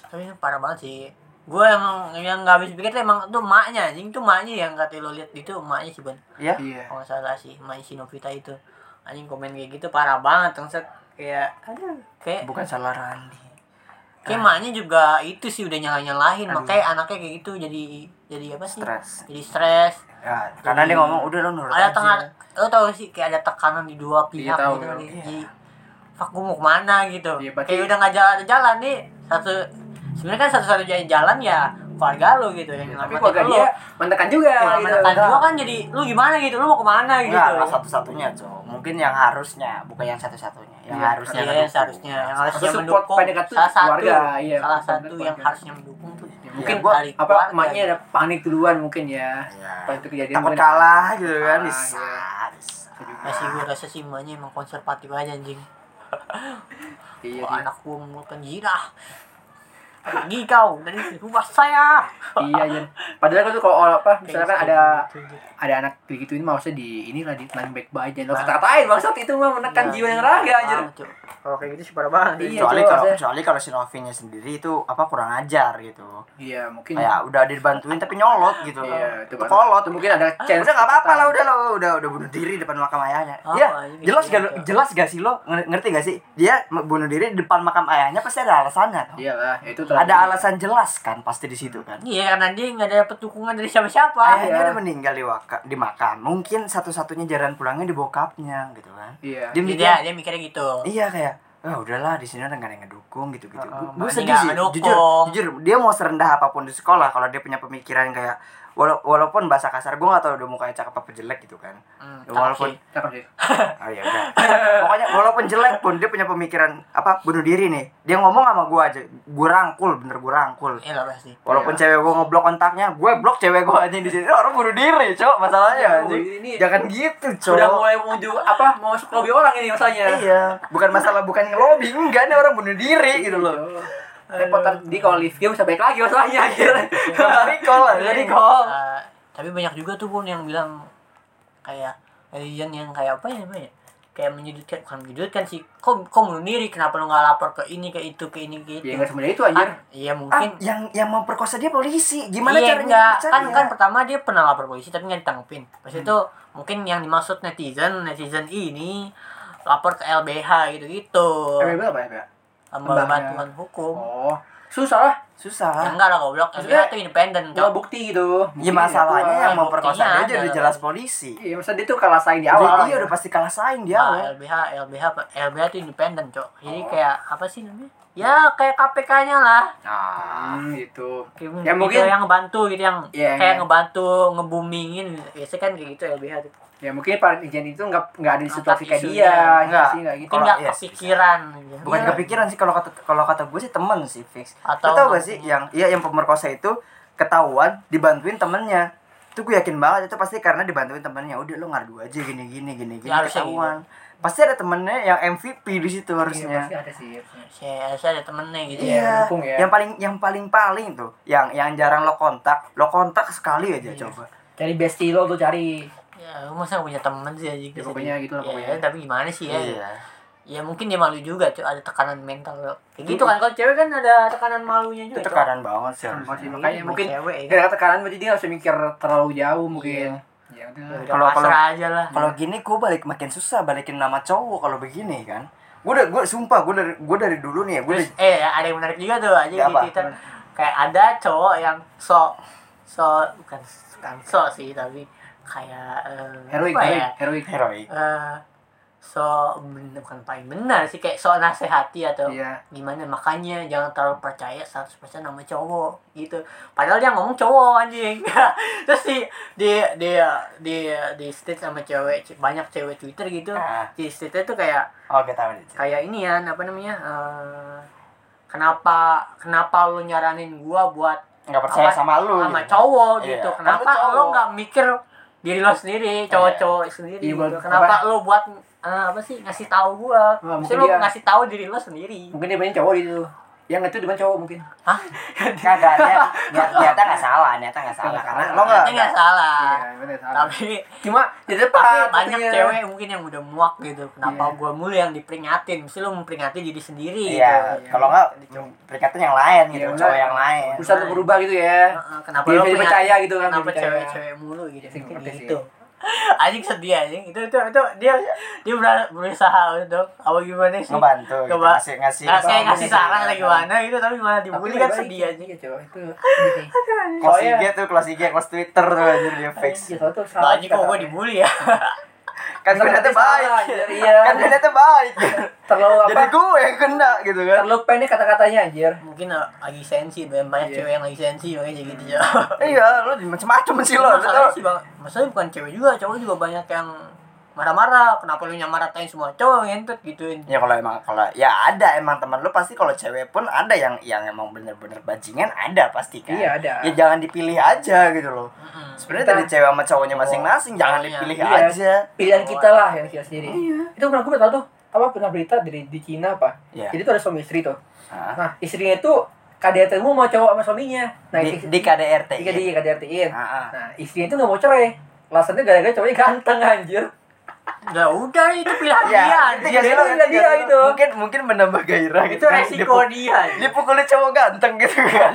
Tapi itu parah banget sih. Gue emang yang nggak habis pikir tuh emang tuh maknya anjing tuh maknya yang kata lo lihat itu maknya sih Ben.
Ya.
Iya.
Kalau nggak salah sih maknya si Novita itu. Anjing komen kayak gitu parah banget set kayak aduh kayak
Bukan salah Randi. Ah.
kayak maknya juga itu sih udah nyala nyalahin makanya anaknya kayak gitu jadi jadi apa sih
Stres.
jadi stres
Ya, karena dia ngomong udah lo nurut
ada
aja."
tengah lo tau sih kayak ada tekanan di dua pihak
ya. Iya, tahu,
gitu
tahu.
Jadi, jadi fuck gue mau kemana gitu
Iya, berarti-
kayak udah nggak jalan ada jalan nih satu sebenarnya kan satu-satu jalan jalan ya keluarga lo gitu yang
Tapi
nyelamatin
keluarga
lo.
dia mentekan juga
Yang
gitu.
menekan juga kan jadi lu gimana gitu lu mau kemana gitu
Enggak, enggak satu-satunya, Cok. Mungkin yang harusnya, bukan yang satu-satunya. Yang
Iya,
harusnya.
Iya,
mendukung.
seharusnya yang harusnya
support
mendukung
pendekat tuh
salah satu
keluarga, iya,
salah
pendekat
satu yang
keluarga.
harusnya mendukung tuh mungkin
gua-
dari
Apa
keluarga
emaknya
gitu.
ada panik duluan mungkin ya.
Iya.
Pas itu kejadian
Takut
mungkin-
kalah gitu kan
Iya.
bisa.
Kalah,
bisa.
masih gue rasa sih emaknya emang konservatif aja anjing
Iya,
Wah,
iya.
anak gua mengulurkan jirah pergi kau dari rumah saya
Iya, iya. Padahal kan tuh kalau orang- apa misalnya kan
Kayak
ada
gitu.
ada anak begitu ini maksudnya di inilah di nang back aja. Lo
Nah.
kata-katain maksud itu mah menekan kan jiwa yang raga anjir.
Ah, Cuk. Kalau kayak gitu sih parah banget.
Iya,
kecuali
Cok,
kalau
saya-
kecuali kalau si Novinya sendiri itu apa kurang ajar gitu.
Iya, mungkin
Kayak udah ada dibantuin tapi nyolot gitu.
Iya, itu
Itu
kan.
kolot.
Atau mungkin ada chance
Ya udah nggak apa-apa lah udah lo udah udah bunuh diri di depan makam ayahnya
Apa
Iya,
Oh, ini?
jelas gak lo-
Iya.
jelas gak sih lo Nger- ngerti gak sih dia me- bunuh diri di depan makam ayahnya pasti ada alasannya toh.
Iyalah, Iya itu
ada alasan jelas kan pasti di situ kan
Iya karena dia nggak dapet dukungan dari siapa-siapa.
Ayah.
ayahnya udah meninggal di, waka, di makam mungkin satu-satunya jalan pulangnya di bokapnya gitu kan
Iya.
dia
Jadi
mikir
dia dia mikirnya gitu.
iya kayak ah udahlah di sini ada nggak ada yang ngedukung gitu gitu
Heeh,
gue
makanya
sedih
nggak
sih
ngedukung.
jujur jujur dia mau serendah apapun di sekolah kalau dia punya pemikiran kayak wala- walaupun bahasa kasar gue gak tau udah mukanya cakep apa jelek gitu kan
Hmm, cakep
walaupun
sih.
Cakep sih.
Oh ya udah. Pokoknya walaupun jelek pun dia punya pemikiran apa bunuh diri nih. Dia ngomong sama gua aja, gua rangkul, bener gua rangkul.
Iya lah pasti.
Walaupun
Iya.
cewek gua ngeblok kontaknya, gue blok cewek gua anjing di sini. Orang bunuh diri, Cok,
Iya,
masalahnya anjing.
Ini-
Jangan gitu, Cok.
Sudah mulai menuju apa mau masuk lobby orang
ya.
ini masalahnya.
Iya, bukan masalah bukan ngelobi, enggak nih orang bunuh diri gitu loh.
Iya, Repot di kalau lift game bisa baik lagi masalahnya anjir.
Iya.
Iya,
Jadi call, jadi call.
Eh, tapi banyak juga tuh pun yang bilang kayak netizen yang kayak apa ya namanya? Kayak menyudutkan bukan menyudutkan sih. Kok kok bunuh diri kenapa lu nggak lapor ke ini ke itu ke ini ke
Ya
itu?
enggak semudah itu anjir.
Kan, iya
Ah,
mungkin.
yang yang memperkosa dia polisi. Gimana
iya,
caranya
enggak.
dipercaya?
Kan kan pertama dia pernah lapor polisi tapi nggak ditangkepin. Pas itu mungkin yang dimaksud netizen netizen ini lapor ke LBH gitu-gitu.
Emang apa ya? Pak?
Lembaga
Lembaganya.
bantuan hukum.
Oh, susah lah.
susah.
Ya enggak lah goblok. LBH
Maksudnya,
tuh independen,
Nggak
Cok.
bukti gitu. Bukti
Ya masalahnya
nggak
yang
buktinya
memperkosa dia jadi
kan ada. iya.
jelas polisi.
kuat. Iya, masa dia tuh kalah saing di awal.
Jadi dia udah pasti kalah saing dia.
Nah,
awal.
LBH, LBH, apa- LBH tuh independen, Cok. Jadi kayak apa sih namanya? Ya kayak KPK-nya lah. Nah.
Ah.
Hmm, gitu.
Kayak
Ya,
gitu,
mungkin-
yang ngebantu gitu yang
Iya,
kayak
iya.
ngebantu ngebumingin biasanya kan kayak gitu LBH tuh.
Ya mungkin para netizen itu nggak nggak ada di
Angkat
situasi kayak
isunya.
dia,
Nggak.
sih nggak
Mungkin
gitu.
Kalau-
enggak
iya sih,
kepikiran gitu.
Bukan
Iya.
kepikiran sih kalau kata kalau kata gue sih temen sih fix.
Atau
Atau tau gak sih
mamanya.
yang iya yang pemerkosa itu ketahuan dibantuin temennya. itu gue yakin banget itu pasti karena dibantuin temennya udah lo ngadu aja gini gini gini gini
Ya, harusnya
ketahuan pasti ada temennya yang MVP di situ
Iya,
harusnya
pasti ada sih harusnya.
saya saya ada temennya gitu
Iya.
ya
dukung ya.
yang paling yang paling paling tuh yang yang jarang lo kontak lo kontak sekali aja
Iya.
coba
cari bestie lo tuh cari
ya lu masa punya temen sih aja
Ya, pokoknya gitu lah, pokoknya. Iya.
tapi gimana sih
Iya.
ya ya mungkin dia malu juga cuy ada tekanan mental lo
Iya.
kayak gitu kan kalau cewek kan ada tekanan malunya
itu
juga cuy.
tekanan banget sih harusnya.
Masih makanya
Sama
mungkin
cewek ya.
gara-gara tekanan berarti dia nggak usah mikir terlalu jauh mungkin
Iya.
ya udah
Udah
Kalau-
pasrah aja lah
kalau gini gue balik makin susah balikin nama cowok kalau begini kan gue udah gue sumpah gue dari gue dari dulu nih ya gue
Terus, eh ada yang menarik juga tuh aja
Iya,
Ya,
di
apa?
Twitter. Kayak ada cowok yang sok sok bukan bukan sok sih tapi kayak eh,
heroik
apa
heroik
ya?
heroik
heroik
Eh, sok bener bukan paling benar sih kayak sok nasehati atau
iya
gimana makanya jangan terlalu percaya 100% sama cowok gitu padahal dia ngomong cowok anjing [LAUGHS] terus di di di di di state sama cewek banyak cewek twitter gitu
Ah.
di state tuh kayak
oh gue tahu deh
kayak ini ya apa namanya eh, kenapa kenapa lu nyaranin gua buat
nggak percaya
Apa?
sama lu
sama
gitu. [LAUGHS]
cowok
Iya.
gitu
Kan lu
kenapa
cowok.
lu nggak mikir diri lo sendiri cowok-cowok sendiri
Iya,
gitu.
buat
kenapa lu buat eh, apa sih ngasih tahu gua
Ah,
Maksudnya
mungkin
lu
dia-
ngasih tahu diri lo sendiri
mungkin dia banyak cowok di situ yang itu depan cowok mungkin
hah
kagak dia Kan, niat- niatnya nggak salah niatnya nggak salah karena lo nggak
Berarti
gitu.
nggak salah
Iya, bener, salah.
Ah. tapi
cuma di
tapi
depan gitu ya.
banyak
tentunya.
cewek mungkin yang udah muak gitu kenapa
Iya.
gua mulu yang diperingatin mesti lu memperingati diri sendiri
iya
gitu
kalau nggak perikatan yang lain gitu
Iya,
cowok
bener.
yang lain
Berusaha untuk berubah gitu ya
Heeh, kenapa lu
Biar bisa
peringat-
dipercaya gitu kan,
kenapa
dipercaya.
cewek-cewek mulu gitu
Ya, sih,
mungkin
ngerti sih.
gitu [LAUGHS] anjing sedih anjing itu itu itu dia dia ber- berusaha untuk apa gimana sih
ngebantu gitu.
Coba.
ngasih ngasih
Nah, saya
Bang,
ngasih
ini sih,
saran
ya,
atau gimana gitu tapi malah dibully kan
baik-baik
sedih aja
sih, cowok itu Iya,
kelas
Soalnya-
IG tuh kelas IG kelas Twitter tuh anjir dia fix
Iya, soalnya tuh salah
Banyak kok gue
kata-
dibully ya [LAUGHS]
kan gue niatnya baik
Salah, anjir, iya.
kan gue niatnya baik
terlalu apa
jadi gue yang kena gitu kan
terlalu pendek kata-katanya anjir
Mungkin eh, lagi sensi Banyak banyak
Iya.
cewek yang lagi sensi Makanya jadi gitu ya
iya lo macam-macam sih lo
Masalahnya sih bang Masalahnya bukan cewek juga Cowok juga banyak yang Marah-marah Kenapa lu nyamaratain semua cowok Ngentut gituin
ya kalau emang kalau ya ada emang teman lu pasti kalau cewek pun ada yang yang emang bener-bener bajingan ada pasti kan
Iya, ada.
ya jangan dipilih aja gitu loh
Mm-mm.
sebenarnya dari cewek sama cowoknya masing-masing jangan
Iya.
dipilih
Iya.
aja
pilihan
Oh,
kita lah
iya.
yang kita sendiri itu pernah gue tau tuh apa pernah berita dari di Cina apa
Iya.
jadi tuh ada suami istri tuh
Hah?
nah istrinya itu KDRT mu mau cowok sama suaminya nah
di,
istri-
di KDRT
jika di KDRT in
Ah, ah.
nah istrinya itu nggak mau cerai alasannya gara-gara cowoknya ganteng anjir
Ya udah itu pilihan
Ya,
dia anjing.
itu
Nah, iya, dia
kan
bilang dia itu.
mungkin mungkin menambah gairah gitu
Itu
kan.
resiko
Dipu-
dia ya.
dipukulin cowok ganteng gitu kan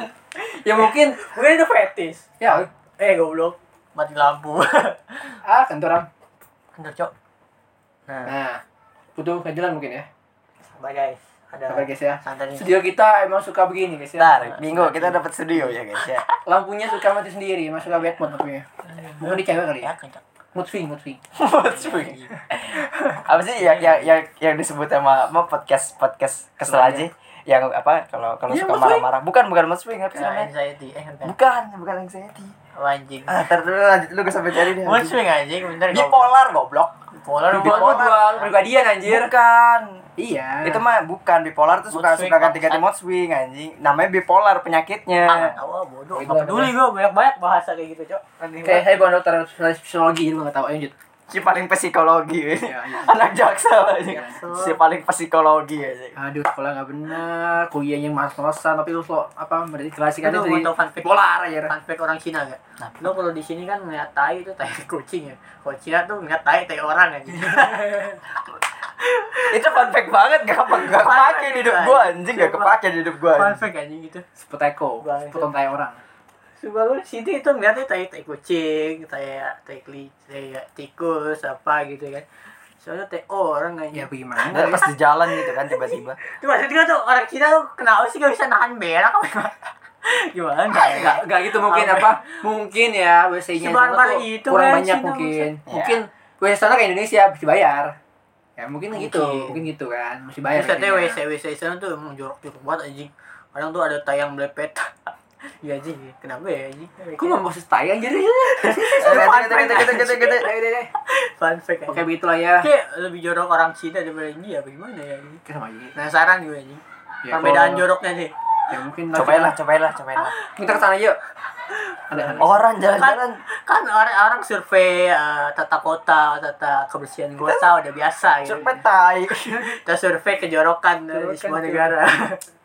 ya mungkin
Mungkin itu fetis
ya
Eh goblok Mati lampu [LAUGHS]
ah kentoran
Bentar cok Nah
nah butuh kejelan mungkin ya
Sabar guys Ada
Sabar, guys, ya.
Santai nih
studio kita emang suka begini guys ya
Iya. Bentar, minggu kita dapat studio ya guys ya
lampunya suka mati sendiri emang suka bad mood lampunya mungkin di cewek kali
Ya
Iya.
ya
kencang
mood swing mood swing
Cuy. apa sih yang yang yang, yang disebut sama sama podcast podcast kesel aja yang apa kalau kalau
Iya, Mas
suka
Wing. Iya,
marah-marah bukan bukan mas Wing apa sih
Nah,
namanya
anxiety Eh bentar
bukan bukan anxiety
Oh, Anjing
ah iya, ntar dulu lanjut lu gue sampai cari deh
Mood swing anjing bentar
bipolar goblok
Bipolar
Buat
bipolar.
dual pribadian anjir
bukan
iya
itu mah bukan bipolar tuh suka
Mood swing,
suka ganti-ganti
bangsat.
mood swing anjing namanya
Ah,
bipolar
nggak
penyakitnya
tahu ah, bodoh.
Itu
Nggak peduli gua banyak-banyak bahasa kayak gitu, Cok. Aneh
Kayak
banget.
saya bukan dokter spesialis psikologi, jadi gue gak tau. Ayo, Eh, lanjut.
si paling psikologi
Iya, iya.
anak jaksa anjing.
Jaksel.
si paling psikologi anjing.
Aduh, sekolah gak bener, kuliahnya males-malesan, tapi lu lo, apa, mendeklarasikannya
Aduh,
dari
gua tau fun fact.
polar aja.
Fun fact orang Cina ya. Lo kalau di sini kan ngeliat tai itu tai [LAUGHS] kucing ya. Kalau Cina tuh ngeliat tai tai orang ya.
[LAUGHS]
gitu.
itu fun fact banget gak, kepa-
Fun
gak kepake
fact,
di hidup
anjing.
gua anjing gak kepake di hidup gua
Fun
anjing.
fact anjing gitu.
Sepeteko,
Bang.
sepotong tai orang.
Coba lu di sini itu ngeliatnya tai tai kucing, tai tai keli, tai tikus apa gitu kan. Soalnya tai orang
Ya,
aja.
bagaimana?
Nggak, pas di jalan gitu kan tiba-tiba
Itu maksud gua tuh orang Cina tuh kenapa sih gak bisa nahan berak [LAUGHS] apa gimana? Gimana?
Gak, gak gitu mungkin
Apa?
apa? Mungkin ya, WC-nya
Si barbar
sana
itu
kurang
kan,
banyak
Cina,
mungkin.
maksudnya.
Mungkin WC sana kayak Indonesia, mesti bayar. Ya, mungkin,
Mungkin.
gitu. Mungkin gitu kan, mesti bayar.
Terus katanya
kayaknya.
WC WC sana tuh emang jorok-jorok banget anjing. Kadang tuh ada tayang melepet. [LAUGHS] Iya anjing, kenapa ya anjing?
Gue mau proses tai anjir. [LAUGHS]
gitu gitu gitu gitu gitu
fun fact
Oke,
anjing.
begitulah ya.
Ah.
Kayak lebih jorok orang Cina daripada India apa gimana ya anjing?
Oke, sama aja.
Penasaran gue anjing.
Ya,
Perbedaan
kalau-
joroknya nih.
Ya, mungkin
cobain lah cobain lah cobain lah
Kita kesana yuk. Ada oh.
Orang jalan-jalan
kan orang-orang survei eh, tata kota tata kebersihan kota udah biasa gitu
cepet tai.
kita survei kejorokan dari
Kejorokan,
semua
kejorokan.
[LAUGHS]
negara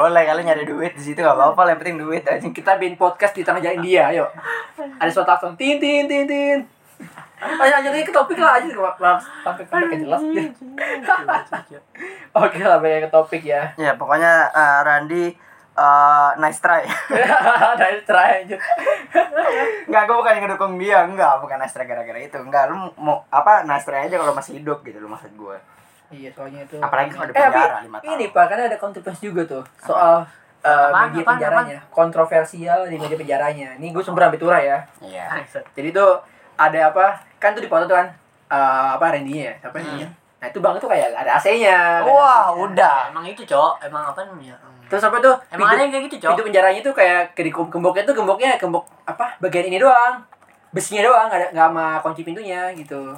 Boleh kali nyari duit di situ gak apa-apa, yang penting duit aja.
Kita bikin podcast di tengah jalan India, ayo. Ada suara klakson tin tin tin tin. Ayo lanjut lagi ke topik lah aja maaf sampai sampai jelas. [LAUGHS]
Ah,
Oke lah banyak ke topik ya. [LAUGHS]
Ya pokoknya eh, Randy eh, nice try.
Dari terakhir lanjut.
Enggak, gue bukan ngedukung dia, enggak, bukan nice try gara-gara itu. Enggak, lu mau apa nice try aja kalau masih hidup gitu lu maksud gue.
Iya soalnya itu.
Apalagi kalau di
Eh, tapi
penjara lima tahun.
ini pak karena ada kontroversi juga tuh soal eh,
Apaan,
media
apaan,
penjaranya kontroversial di media penjaranya. Ini gue sumber ambil tura ya.
Iya.
Jadi tuh ada apa? Kan tuh dipoto tuh kan eh, apa Randy-nya? Apa
Hmm.
Randy-nya? Nah, itu bang tuh kayak ada AC-nya. ada
Wah,
AC-nya.
udah.
emang itu cok emang apa namanya Hmm.
Terus apa tuh?
emang ada
pintu,
yang kayak gitu
pintu
cok
penjaranya tuh kayak ke- di kem- gemboknya tuh gemboknya gembok apa? Bagian ini doang. Besinya doang, nggak ada nggak sama kunci pintunya gitu.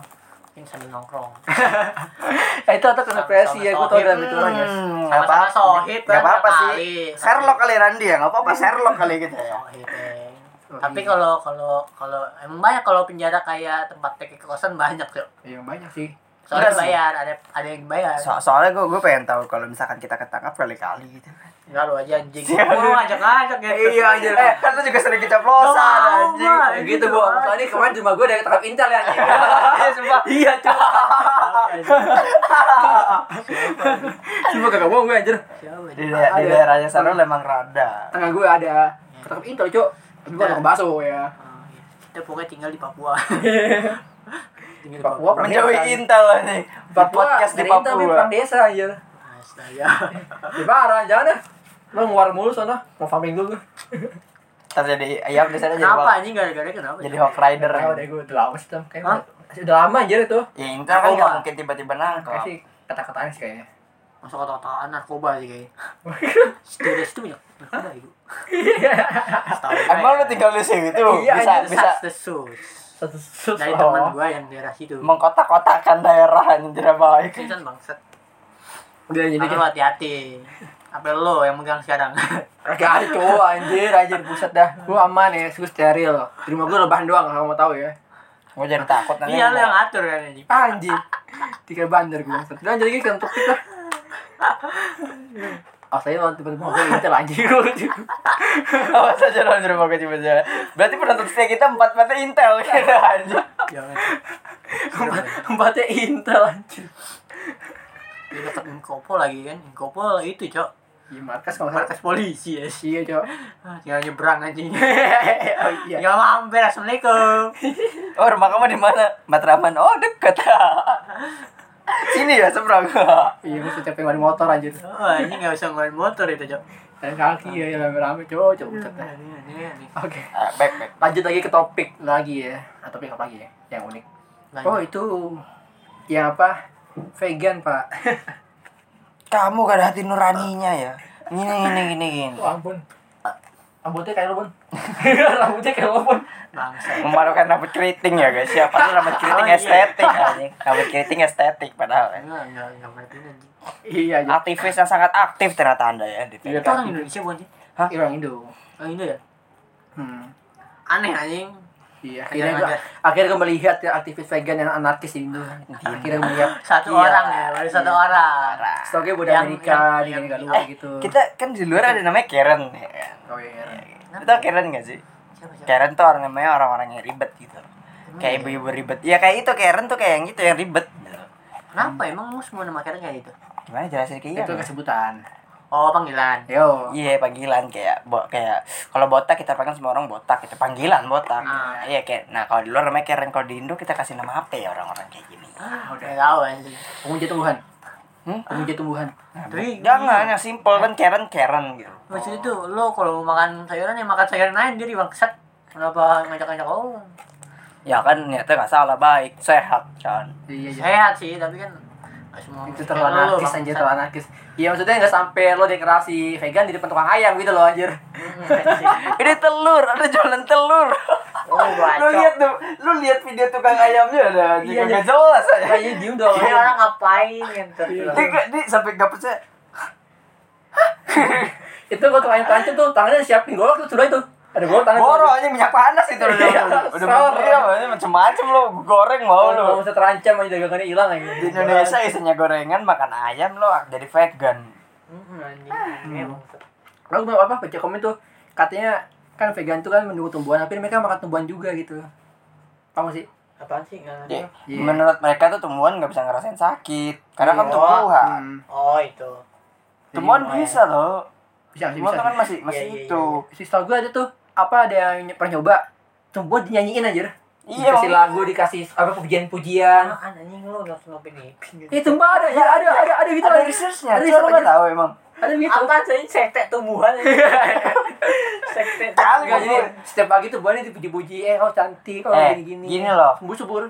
yang sambil nongkrong
Nah, itu atau kontroversi
Sama-sama
ya, gue tau
sohib.
dalam itu ya.
Hmm, nggak
sama-sama kan,
apa-apa.
sohib
Nggak apa-apa sih.
kali.
Sherlock kali Randy ya, nggak apa-apa Sherlock kali gitu ya.
Sohib, eh. tapi kalau kalau kalau emang banyak kalau penjara kayak tempat PK kosan banyak cok
Iya, banyak sih.
soalnya
Enggak sih.
bayar ada ada yang bayar
So- soalnya gue gue pengen tahu kalau misalkan kita ketangkap kali-kali gitu.
enggak lu aja anjing lu ngajak ngajak ya [LAUGHS]
anjir. Eh, kan lu juga sering
Nggak
keceplosan
mau,
anjing.
Mak.
Kayak gitu, Bu. Soalnya kemarin cuma gue dari tangkap intel ya. anjing. [LAUGHS]
Iya, sumpah.
Iya, cuma. Cuma kagak bohong gue anjir.
Siapa dia?
Di, da- di
Ada.
daerahnya Sherlock emang rada.
tengah gue ada ketangkep intel cok tapi gue
Ada.
ada baso ya
Oh, iya. kita pokoknya tinggal di
[LAUGHS]
Papua tinggal di
Papua.
Papua
Menjauhi Intel nih. Buat podcast di
dari Intel, tapi perang
Papua.
desa aja
Ah, astaga
di parah jangan dah lo ngeluar mulu sono mau farming dulu
Terjadi ayam di sana jadi
kenapa
Hawk-
anjing gara-gara kenapa ya?
jadi Hawk Rider.
tau deh gue udah lama sih Tom.
Hah?
kayaknya udah lama anjir itu
Ya Intel kan nggak
Narkoba.
mungkin tiba-tiba nangkap.
kasih kata-kataan sih kayaknya
masuk kata-kataan narkoba sih
[LAUGHS]
kayaknya Setelah itu banyak narkoba itu
[LAUGHS]
Setahu saya.
Emang lu tinggal di situ?
Iya,
Bisa
anjir.
bisa Oh.
Sus.
satu susu
dari teman gua yang daerah situ
mengkotak-kotakan daerah yang tidak baik.
Ini kan bangsat
udah jadi
jadi
kayak
hati-hati apa lo yang megang sekarang
kagak cowok anjir anjir buset dah gue aman ya gue steril di rumah gue rebahan doang kalau mau tahu ya
Gue jadi takut nanti.
iya lo
[LAUGHS]
yang ngatur kan ini
anjir tiga bandar gue maksud lanjut lagi kan topik [LAUGHS] lah Oh saya nonton tiba-tiba gue intel anjir
Awas aja lo nyuruh gue tiba-tiba. Berarti penonton setia kita empat mata Intel [LAUGHS] gitu anjing.
jangan
Tempatnya intel anjir
di dekat Inkopol lagi kan Inkopol itu cok
Di Iya, markas kalau
markas
markas
polisi ya
Iya cok
Ah, tinggal nyebrang anjing [LAUGHS]
Oh iya
tinggal mampir assalamualaikum
Oh rumah kamu di mana? Matraman. Oh deket. [LAUGHS] Sini ya seberang. [LAUGHS]
Iya gue setiap yang ada motor anjir
oh ini nggak usah ngeluarin motor itu cok
Dan kaki ya yang rame-rame cok cok buset dah.
Ini, ini, ini.
Oke
Ah, Baik baik.
Lanjut lagi ke topik lagi ya Ah, Topik apa lagi ya Yang unik
Lanjut.
Oh itu Yang apa Vegan pak
Kamu gak ada hati nuraninya ya. Gini gini gini gini.
Oh ampun
Ah.
Rambutnya kayak lo pun [LAUGHS] Rambutnya kayak lo pun
bangsa
Memalukan rambut keriting ya guys ya. Padahal rambut keriting
Oh, iya.
estetik anjing. Rambut keriting estetik padahal. ya.
nggak nggak nggak ngertiin anjing
Iya anjir
Aktivis yang sangat aktif ternyata anda ya. Di
Iya.
itu orang Indonesia bukan sih
Iya, orang Indo
oh Indo ya
Hmm
aneh anjing
Iya,
Kadang
akhirnya gue,
ada.
akhirnya gue melihat ya aktivis vegan yang anarkis di Indo. Akhirnya gue melihat
satu
Iya.
orang ya baru satu orang
stoknya budak
Yang-
Amerika
yang-
di
yang-
negara
eh,
luar gitu.
Kita kan di luar ada namanya Karen ya kan.
Oh, iya.
Lu tau Karen gak sih?
siapa siapa
Karen tuh orang namanya orang-orang yang ribet gitu Kayak ibu-ibu ribet Ya kayak itu Karen tuh kayak yang gitu yang ribet gitu.
kenapa emang lu semua nama Karen kayak gitu
Gimana jelasin kayak
Itu
iya
kesebutan.
oh panggilan
Yo.
Iya panggilan kayak bo kayak kalau botak kita panggil semua orang botak itu panggilan botak.
Ah.
Iya kayak nah kalau di luar namanya Karen kalau di Indo kita kasih nama apa ya orang-orang kayak gini.
ah udah tahu anjing
Pemuja tumbuhan.
Ah.
Hmm?
Pemuja tumbuhan.
tapi
Jangan yang simple kan Karen Karen gitu.
Maksud itu lo kalau mau makan sayuran ya makan sayuran lain jadi bangsat. Kenapa ngajak-ngajak oh, orang?
Ya kan niatnya nggak salah baik sehat kan.
Iya, iya.
Sehat sih tapi kan nggak semua
Itu
manusia
terlalu
kayak lo,
anarkis
bangsat.
anjir, terlalu anarkis. Iya, maksudnya nggak sampai lo deklarasi vegan di depan tukang ayam gitu loh anjir.
Ini telur ada jualan telur.
Oh,
lu
bacot.
lihat tuh, lu lihat video tukang ayamnya ada anjing
Iya,
nggak jelas aja.
Kayaknya diem dong.
Iya.
Iya.
Ini orang ngapain yang
Dia,
terlalu.
nggak- dia sampai nggak percaya.
Itu kalau tukang ayam tancap tuh tangannya siapin golok tuh sudah itu. Ada bawa tangan.
Boro anjing minyak panas itu udah
Iya,
udah
serem.
iya anjing macem-macem lo goreng mau
Kalau
lo.
bisa Oh, terancam aja dagangannya hilang aja.
Di Indonesia isinya gorengan makan ayam lo jadi vegan.
Hmm, anjing. Emang.
Aku mau apa baca komen tuh katanya kan vegan tuh kan menunggu tumbuhan tapi mereka makan tumbuhan juga gitu. Paham gak sih?
Apaan sih? Nggak ngerti.
Jadi,
Iya.
Menurut mereka tuh tumbuhan nggak bisa ngerasain sakit karena kan
Iya.
tumbuhan.
Hmm.
Oh, itu.
Tumbuhan
Jadi,
bisa loh.
Iya, Bisa sih
Tumbuhan
bisa.
tuh kan masih masih
Iya, iya,
itu.
Si setahu gue ada tuh apa ada yang ny- pernah nyoba tumbuhan dinyanyiin aja.
Iya,
dikasih
emang.
lagu, dikasih apa pujian-pujian.
Apaan anjing lu udah sama pinipin gitu.
Eh sumpah ada, ya, ada, ada, ada gitu.
Iya. Ada researchnya,
Ada
cuy lo nggak
researchnya.
tahu emang.
Ada gitu.
Apaan sih sekte tumbuhan? sekte
Kali
Enggak,
gak
jadi setiap pagi tuh buahnya dipuji-puji, eh oh cantik, oh
Eh,
gini-gini.
gini loh.
Sembuh subur.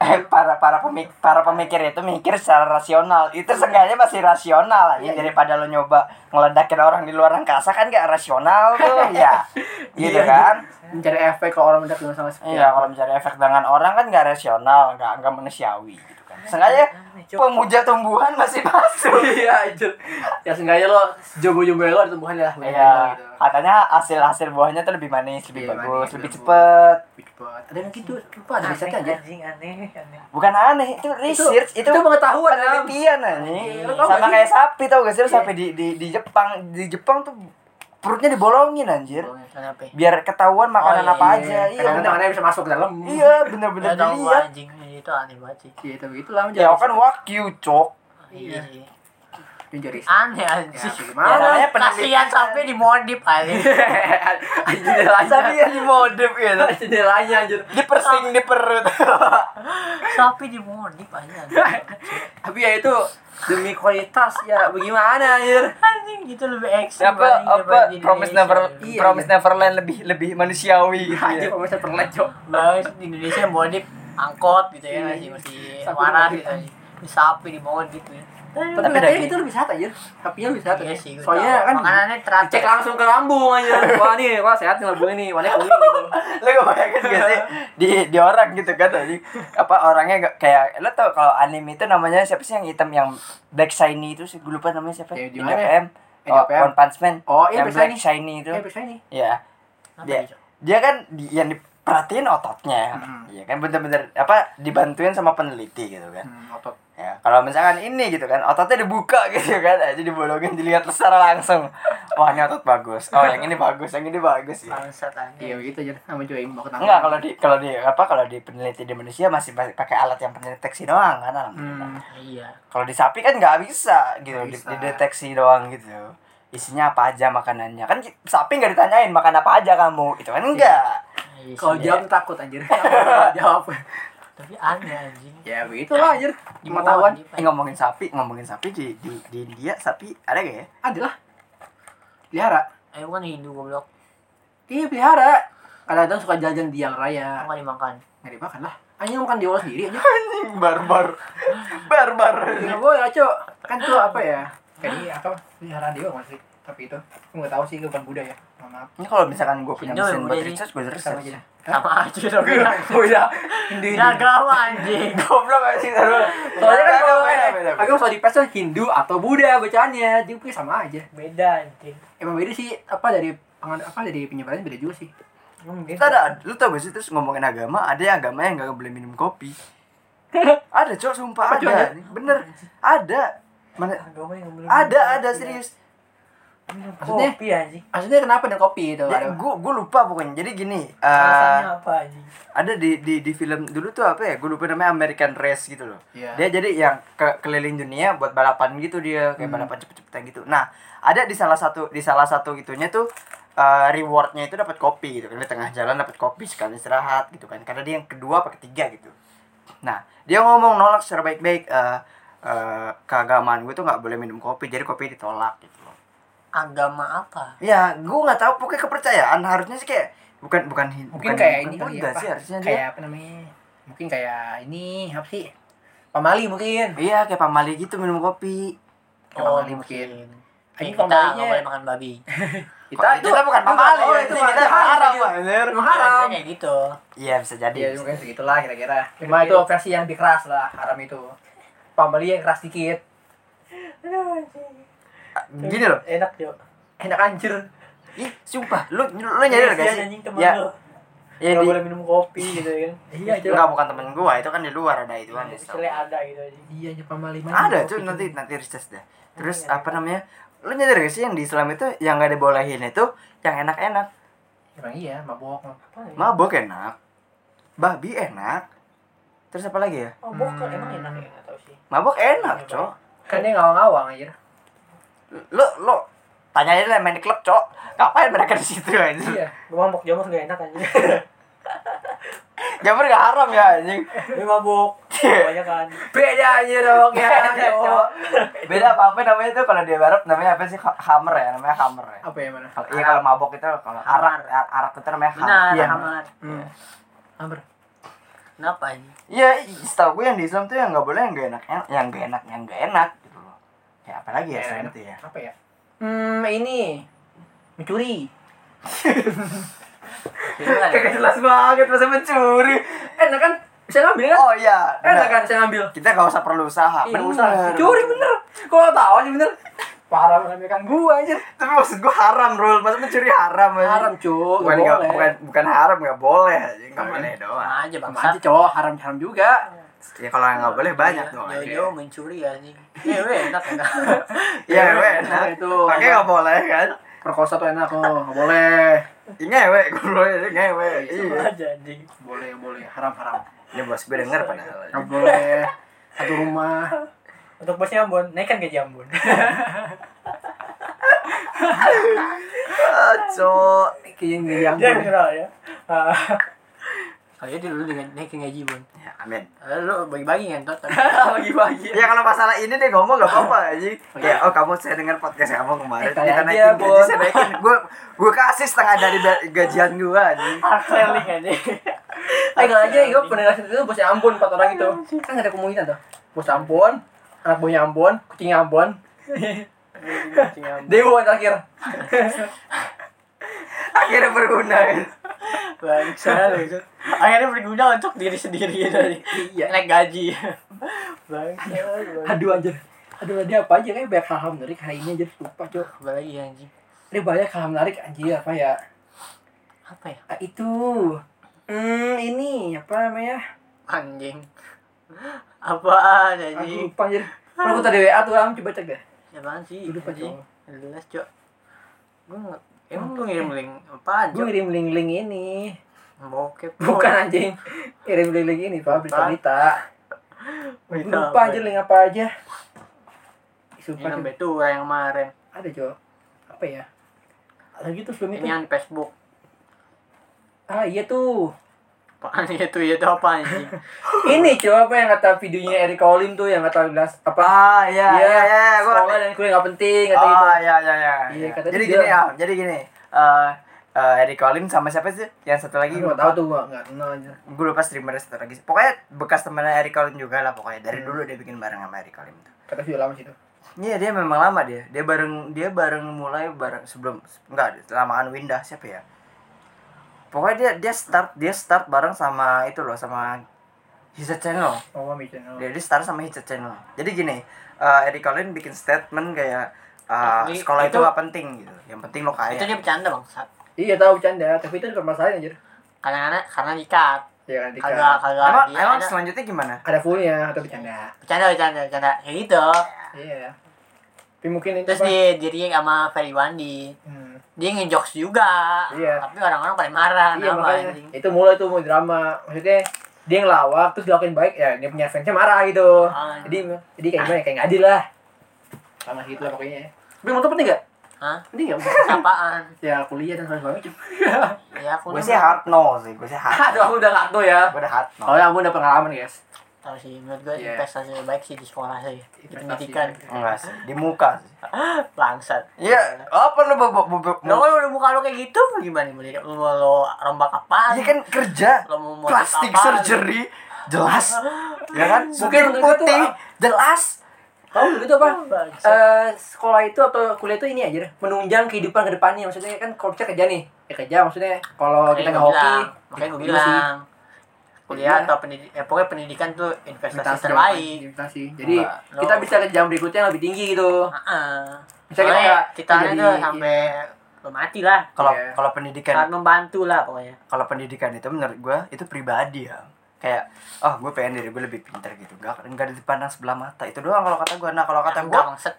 Eh, para para pemik para pemikir itu mikir secara rasional itu seenggaknya masih rasional aja
Iya, iya.
daripada lo nyoba ngeledakin orang di luar angkasa kan gak rasional [LAUGHS] tuh ya gitu
Iya,
kan
Mencari efek kalau orang udah kenal sama sekian.
iya kalau mencari efek dengan orang kan gak rasional gak gak manusiawi gitu kan seenggaknya pemuja tumbuhan masih [LAUGHS] masuk
[LAUGHS] Iya, anjir. Ya seenggaknya lo jomblo-jomblo lo ada tumbuhannya lah. banyak
Iya,
gitu.
katanya hasil hasil buahnya tuh lebih manis, lebih
Iya,
bagus,
manis,
lebih
lebih
cepet.
Ada yang gitu, lupa ada risetnya aja.
anjing aneh aneh.
Bukan aneh, itu research,
itu
itu,
pengetahuan Am.
penelitian anjing.
Iya,
lo tau
Sama
gak
kayak sapi tau gak sih, lo
Iya.
sapi di, di, di Jepang, di Jepang tuh perutnya dibolongin anjir.
Kenapa?
Biar ketahuan makanan
Oh,
apa
iya,
aja. Iya,
Kadang-kadang
bener.
anaknya bisa masuk ke dalam.
Iya, bener-bener
Udah tau gua
dilihat.
anjing itu aneh banget sih.
Iya, tapi itulah menjadi.
Ya kan wagyu, cok.
Iya. sih.
Menjadi [LAUGHS] riset.
Aneh anjing.
Ya,
Ya,
gimana?
namanya penelitian.
Kasihan sampai dimodif anjing.
Anjir,
Sapi
jendelanya.
yang dimodif gitu.
Jendelanya anjir.
Dipersing di perut.
Sapi dimodif anjing.
Tapi ya itu demi kualitas ya bagaimana anjir.
Anjing gitu lebih ekstrim.
apa
anjing,
apa
daripada di
promise
Indonesia.
never
Iya,
promise
iya.
neverland lebih lebih manusiawi gitu
Anjir
ya.
pemirsa perleco.
Guys, di Indonesia modif angkot gitu ya masih masih
Sapi
waras
dimodif,
gitu. anjing. Di sapi dimodif gitu ya.
Tapi
Tapi
katanya
daging.
itu lebih sehat anjir. Sapinya lebih sehat.
Iya sih, gua
Soalnya
tahu.
kan
makanannya teratur.
cek langsung ke lambung aja. [LAUGHS] Wah nih, wah sehat nih lambung ini. Warnanya kuning gitu.
lo gak bayangin gak sih di di orang gitu kan tadi apa orangnya gak, kayak lo tau kalau anime itu namanya siapa sih yang hitam yang black shiny itu sih gue lupa namanya siapa
Ya,
di
di mana ya?
oh,
NJPM.
One Punch Man
[LAUGHS] Oh, iya,
yang
Black
black shiny itu
Eh, bisa ini.
ya
Apa
dia
itu?
dia kan di- yang diperhatiin ototnya
Mm-hmm.
ya kan bener-bener apa dibantuin sama peneliti gitu kan
Hmm, otot.
ya kalau misalkan ini gitu kan ototnya dibuka [LAUGHS] gitu kan aja dibolongin dilihat secara langsung wah ini otot bagus oh yang ini bagus yang ini bagus ya
Bangsat anjing.
Iya begitu aja. Sama juga imbau ke tangan.
Enggak, kalau di kalau di apa kalau di peneliti di manusia masih pa- pakai alat yang pendeteksi doang kan alhamdulillah.
Hmm.
Iya.
Kalau di sapi kan nggak bisa gitu,
Nggak
di-
bisa.
dideteksi doang gitu. Isinya apa aja makanannya. Kan ki- sapi nggak ditanyain makan apa aja kamu. Itu kan enggak.
Iya
Kalau
sih.
jawab takut anjir. [LAUGHS] Kalau Jawab.
tapi aneh anjing.
Ya begitulah anjir.
Dimodif,
Pengetahuan
Eh, ngomongin sapi, ngomongin sapi di di di India sapi ada gak ya?
adalah pelihara.
Eh bukan Hindu goblok.
Iya pelihara. Kadang-kadang suka jajan di yang raya.
Enggak dimakan.
Nggak dimakan lah. Anjing makan di orang sendiri aja.
Anjing [LAUGHS] barbar. barbar.
Ya boy, Aco. Kan tuh apa ya? Jadi apa? Pelihara dewa masih. Tapi itu gue nggak tahu sih gue bukan Buddha ya. Mohon Maaf.
Ini kalau misalkan gue punya
Indo
mesin
yang
buat
udah di-
research, gue
Sama
research.
aja.
Sama aja dong.
Buddha. ya, Hindu.
Ini agama anjing.
[LAUGHS] Goblok aja sih
Soalnya kan kalau
beda, beda, beda.
agama soal di pers tuh Hindu atau Buddha bacaannya, jadi mungkin sama aja.
Beda anjing.
Emang beda sih apa dari pengan- apa dari penyebarannya beda juga sih.
Kita ada, lu tau gak sih terus ngomongin agama, ada yang agama yang gak boleh minum kopi. ada cok, sumpah
Apa, Cok,
ada, bener, ada, mana,
Agama yang belum.
ada ada serius.
Maksudnya?
Kopi anjing.
Maksudnya kenapa dengan kopi itu?
Ya,
Ada-
gue gue lupa pokoknya. Jadi gini, eh,
Alasannya apa anjing?
ada di, di di film dulu tuh apa ya? Gue lupa namanya American Race gitu loh.
Iya.
Dia jadi yang ke, keliling dunia buat balapan gitu
Hmm.
dia, kayak balapan cepet-cepetan gitu. Nah, ada di salah satu di salah satu itunya tuh eh, rewardnya itu dapat kopi gitu kan di tengah jalan dapat kopi sekali istirahat gitu kan karena dia yang kedua apa ketiga gitu Nah, dia ngomong nolak secara baik-baik eh eh, keagamaan gue tuh nggak boleh minum kopi, jadi kopi ditolak gitu loh.
Agama apa?
Ya, gue nggak tahu pokoknya kepercayaan harusnya sih kayak bukan bukan hin-
mungkin
bukan-
kayak
bukan
ini kali ya
Buddha
apa?
sih harusnya dia.
kayak apa namanya mungkin kayak ini apa sih pamali mungkin
Iya, kayak pamali gitu minum kopi.
Kayak pamali mungkin.
Ini
Ini
kita nggak boleh
pamalinya
makan
[LAUGHS]
babi.
kita itu
kita bukan pamali,
oh,
ya.
itu
Ini kita haram. anjir.
Emang haram.
Kayak gitu.
Iya, bisa jadi.
Iya mungkin segitulah kira-kira. Cuma itu versi yang lebih keras lah haram itu. Pamali yang keras dikit.
Aduh anjing.
Ah, Gini loh.
Enak yuk.
Enak anjir.
Ih, sumpah, lu lu nyadar gak
Iya,
sih?
anjing temen
Ya,
lu.
ya
Nggak
di
boleh minum kopi gitu kan.
Iya,
enggak bukan temen gua, itu kan di luar ada itu kan. di
Misalnya ada gitu aja.
Iya, nyepam maling.
Ada tuh nanti nanti reses deh. Terus apa namanya? Lu nyadar gak sih yang di Islam itu yang gak dibolehin itu yang enak-enak.
Emang iya, mabok.
Apa ya?
Mabok enak. Babi enak. Terus apa lagi ya?
Oh, bokor emang enak ya? Nggak tahu sih.
Mabok enak, Cok.
Kan dia ngawang-ngawang aja.
Lu lu tanya aja lah main di klub, Cok. Ngapain mereka di situ anjing?
Iya.
Gua mabok jamur nggak enak
[LAUGHS]
anjing.
Jamur gak haram ya anjing.
Gue
[LAUGHS]
mabok. Banyak kan.
[LAUGHS] Beda aja dong ya.
Cok. Beda apa apa namanya itu kalau di Barat namanya apa sih? Hammer ya, namanya hammer ya.
Apa ya mana?
Kalau iya kalau mabok itu kalau arak ar- arak itu namanya ham.
Benar,
iya.
kamar.
Hmm. Amber.
Kenapa ini?
Iya, setahu gue yang di Islam tuh yang nggak boleh yang gak enak, en- yang gak enak, yang gak enak gitu loh. Ya apalagi ya
Yang
selain
enak.
itu ya.
Apa ya? Hmm, ini. Mencuri.
Gimana?
jelas banget masa mencuri. Enak kan? Bisa ngambil kan?
Oh iya,
Enak
benar.
kan bisa ngambil.
Kita gak usah perlu usaha.
Berusaha.
Bener.
Curi bener. Kok tahu aja bener. Parah meremehkan gua aja.
Tapi maksud gue haram, Rul. Maksud mencuri haram. anjing.
Haram, Cuk.
Bukan,
Nggak
nggak-
boleh.
bukan, bukan haram, gak boleh. anjing. Nggak
Iya.
boleh doang.
Sama aja
Sama
bangsa.
aja, Cok. Haram-haram juga.
Ya kalau yang gak boleh banyak
Iya,
dong.
Jauh-jauh mencuri ya anjing. Eh, weh, enak
[LAUGHS]
enak.
Iya, ewe
Nah,
enak.
itu.
Pakai gak boleh kan?
Perkosa tuh enak kok. Nggak boleh.
Iya, ngewe, gue boleh, ngewe.
Sama
Iya.
aja anjing.
Boleh, boleh. Haram-haram.
Ini bos gue denger padahal.
Nggak boleh. Satu rumah.
Untuk bosnya Ambon, naikkan gaji Ambon.
Ah, Cok.
Kayaknya yang
Dia yang kenal [LAUGHS] ya. Kalau dia dulu dengan naikin gaji Bon.
Ya, amin.
Eh, Lu bagi-bagi kan [LAUGHS] tot.
Bagi-bagi.
Ya kalau masalah ini deh ngomong gak apa-apa aja. Kayak oh kamu saya dengar podcast kamu kemarin.
Eh, kali
Kita
aja,
naikin gaji
Bon.
saya naikin. Gue gue kasih setengah dari da- gajian gue aja.
Selling anjing.
Eh kalau aja gue pendengar itu bos Ambon empat orang itu kan gak ada komunitas tuh bos Ambon anak buahnya Ambon kucing Ambon
Kucing Ambon.
dewa yang terakhir
Akhirnya berguna. kan.
Bangsa lu. Cok. Akhirnya berguna untuk diri sendiri dari
Iya.
naik gaji. Bangsa. lu.
aduh anjir aduh dia apa aja kayak banyak hal-hal menarik hari ini jadi lupa cok
Apa lagi ya, anjing?
dia banyak hal menarik anjir apa ya
Apa ya?
Ah, itu hmm ini apa namanya
Anjing. Apaan
aku
anjing?
lupa anjir kalau aku tadi WA tuh am coba cek deh
Apaan sih?
Lu lupa,
anjing? Jelas, Cok. Gue Emang lu ngirim link apaan,
gue
Cok?
ngirim link-link ini
Bokep. Cok.
bukan anjing ngirim link-link ini pak berita-berita
Berita
lupa
apa
anjir
ya?
link apa aja
Ini
Sumpah,
yang
Cok.
itu yang kemarin.
ada cok apa ya lagi tuh sebelum
Ini
itu
yang di Facebook.
ah iya tuh
Apaan [LAUGHS] itu? Itu apa anjing?
ini cok apa yang kata videonya Eric Olim tuh yang kata bilang apa
Ah iya iya iya. Gue
sekolah dan kuliah nggak penting kata gitu
Oh iya iya iya.
Iya, kata
Jadi
dia.
gini ya, jadi gini. Eh eh, Eric Olim sama siapa sih? Yang satu lagi
Ih, nggak tahu tuh gua nggak kenal aja
gue lupa streamer satu lagi. Pokoknya bekas temennya Eric Olim juga lah pokoknya.
Hmm.
Dari dulu dia bikin bareng sama Eric Olim.
kata video lama situ
Iya dia memang lama dia. Dia bareng dia bareng mulai bareng sebelum enggak lamaan Winda siapa ya? Pokoknya dia dia start dia start bareng sama itu loh sama Hisa Channel.
oh mami channel
Dia, dia start sama Hisa Channel. Jadi gini, eh Eric Colin bikin statement kayak eh,
Tapi
sekolah itu
Nah, itu-
nggak penting gitu. Yang penting lo
itu
kaya.
dia bercanda bangsat.
iya tahu bercanda tapi itu bukan masalah anjir
Karena karena dikat.
ya kan Dika.
Kagak kagak
Emang,
dia
emang
ada-
selanjutnya gimana?
ada fullnya atau bercanda
bercanda bercanda bercanda ya gitu.
iya tapi mungkin itu
Terus
apa?
di diri sama Ferry Wandi.
Hmm.
Dia ngejokes juga.
Iya.
Tapi orang-orang pada marah
iya
kenapa,
makanya
anjing?
itu mulai tuh mau drama maksudnya dia ngelawak terus dilakuin baik ya dia punya fansnya marah gitu
Ah.
jadi jadi kayak gimana ya, kayak nggak adil lah sama gitu lah pokoknya tapi menurut lu penting gak
Hah?
penting gak
[LAUGHS] Apaan?
ya kuliah dan segala
[LAUGHS]
macam
Ya aku
Gue
udah
sih hard no sih, gue sih hard.
aduh aku udah nggak tahu ya
Gue udah hard no.
kalau yang aku udah pengalaman guys
tahu sih menurut gue
Iya.
investasi yang baik sih di sekolah sih. Di
Investasi.
pendidikan
Enggak sih, di muka sih.
bangsat.
Iya, apa lu bobok bobok?
Iya.
Lo kalau udah muka lo kayak gitu gimana mau lo, lo rombak apaan?
Iya kan kerja
Lo mau motif
plastik
apaan?
surgery
[LAUGHS]
jelas ya kan
Mungkin
mungkin
untuk itu
putih
ah.
apa?
jelas
kamu dulu tuh apa
Bangsat.
Eh, sekolah itu atau kuliah itu ini aja deh menunjang kehidupan ke depannya maksudnya kan kalau kita kerja nih ya kerja maksudnya kalau
Makanya
kita nggak
gue
hoki
bilang, makanya gue
dulu sih.
bilang kuliah
Iya.
atau pendidikan, eh, pokoknya pendidikan tuh investasi
Investasi,
terbaik.
investasi. Jadi
Enggak.
kita
Lo-
bisa ke jam berikutnya yang lebih tinggi gitu.
Heeh.
Bisa kita
Soalnya
nggak
kita
jadi-
itu sampai lo mati lah
Kalau
Iya.
kalau pendidikan
sangat membantu lah pokoknya
kalau pendidikan itu menurut gue itu pribadi ya kayak oh gue pengen diri gue lebih pintar gitu gak nggak dipandang sebelah mata itu doang kalau kata gue nah kalau kata gue
Enggak, bangset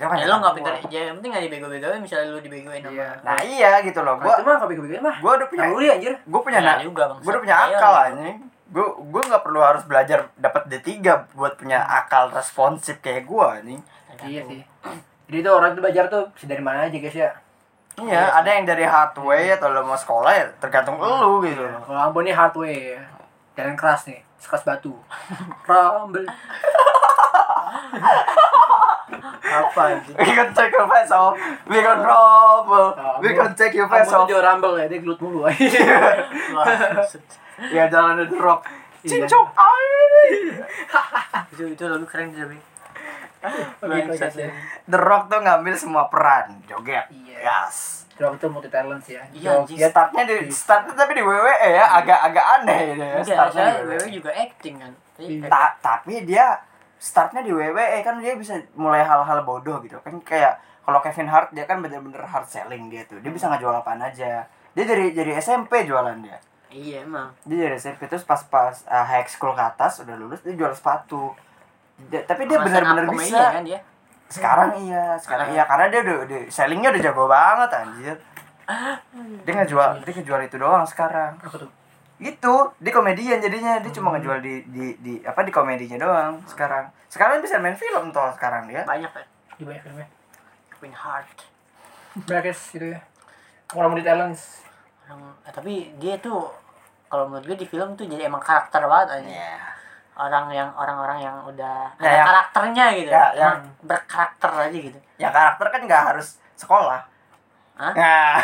kan
ya lo nggak pintar ya yang penting nggak dibego-begoin misalnya lo dibegoin sama
Ah, Iya.
nah iya gitu loh gue
Gua itu mah kalau pikir-pikir mah.
gue udah punya
Naluri anjir.
gue punya
Nah, iya,
na-
juga bangsa.
gue udah punya akal anjing gue gue nggak perlu harus belajar dapat D3 buat punya akal responsif kayak gue anjing
Iya sih. Jadi tuh orang tuh belajar tuh bisa dari mana aja guys ya.
iya ada yang dari hardware atau lo mau sekolah ya tergantung lo gitu loh
Kalau Ambon nih hard way ya. Jalan keras nih, sekeras batu. Rambel.
apa
[LAUGHS]
gitu
we can take your face off we can rumble we can take your face
Ambon
off
tuh jual rambel ya, dia gelut mulu. [LAUGHS]
Wah, bangset.
ya jalan the rock
Iya.
cincong ay
itu itu lagu keren sih tapi
Ya, Begitu
Bangsat
aja.
sih.
The Rock tuh ngambil semua peran joget
Iya.
yes
Kalau itu multi talent sih ya.
Iya, anjing.
Joget,
startnya di startnya tapi di WWE ya agak-agak aneh gitu ya
Enggak,
startnya
saya
di
WWE
E
WWE.
juga acting kan. Jadi,
Iya.
Ta- tapi dia startnya di WWE kan dia bisa mulai hal-hal bodoh gitu kan kayak kalau Kevin Hart dia kan bener-bener hard selling dia tuh dia bisa ngejual apaan aja dia dari dari SMP jualan dia
Iya emang.
dia dari SMP terus pas-pas eh, high school ke atas udah lulus dia jual sepatu Dia- tapi dia
Sama
bener-bener
stand up comedian
bisa
kan dia.
sekarang iya sekarang iya karena dia udah, udah sellingnya udah jago banget anjir dia ngejual dia ngejual itu doang sekarang
Apa tuh?
itu Gitu. dia komedian jadinya dia
Hmm.
cuma ngejual di di di apa di komedinya doang sekarang sekarang bisa main film toh sekarang dia
Banyak kan.
Di banyak filmnya.
Kevin Hart.
Banyak guys gitu ya. Orang multi talent.
Orang- eh, tapi dia tuh kalau menurut gue di film tuh jadi emang karakter banget aja.
Iya.
Orang yang orang-orang yang udah
Ya,
ada
yang-
karakternya gitu.
Ya,
Emang
yang-
berkarakter aja gitu.
ya karakter kan nggak harus sekolah
Hah?
[LAUGHS] Nah,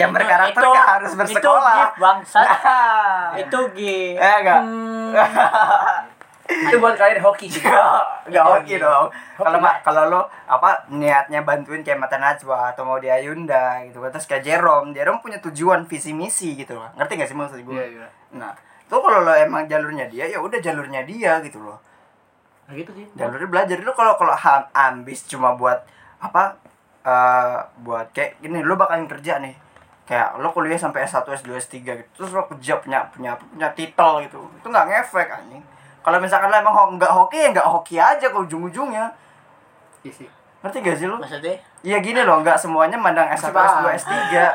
yang
Itu-
berkarakter
itu-
nggak harus
Itu
bersekolah
gif
[LAUGHS]
bangsat.
Nah.
itu gif.
Eh, enggak.
Hmm.
Itu buat kalian hoki sih. Nah,
Gak oke dong. Kalau
Iya, Oke,
ma- kalau lo apa niatnya bantuin kayak Mata Najwa atau mau di Ayunda gitu kan terus kayak Jerome, Jerome punya tujuan visi misi gitu loh. Ngerti gak sih maksud gue?
Iya, iya.
Nah, itu kalau lo emang jalurnya dia ya udah jalurnya dia gitu loh.
Nah, gitu sih.
Jalurnya belajar lo kalau kalau ham- ambis cuma buat apa eh buat kayak gini lo bakalan kerja nih kayak lo kuliah sampai S1, S2, S3 gitu terus lo kerja punya punya punya titel gitu itu nggak ngefek anjing kalau misalkan lo emang ho- nggak hoki ya nggak hoki aja ke ujung-ujungnya
Iya sih.
ngerti gak sih lo?
Maksudnya?
Iya gini loh, nggak semuanya mandang S1, S2, S3
Ya,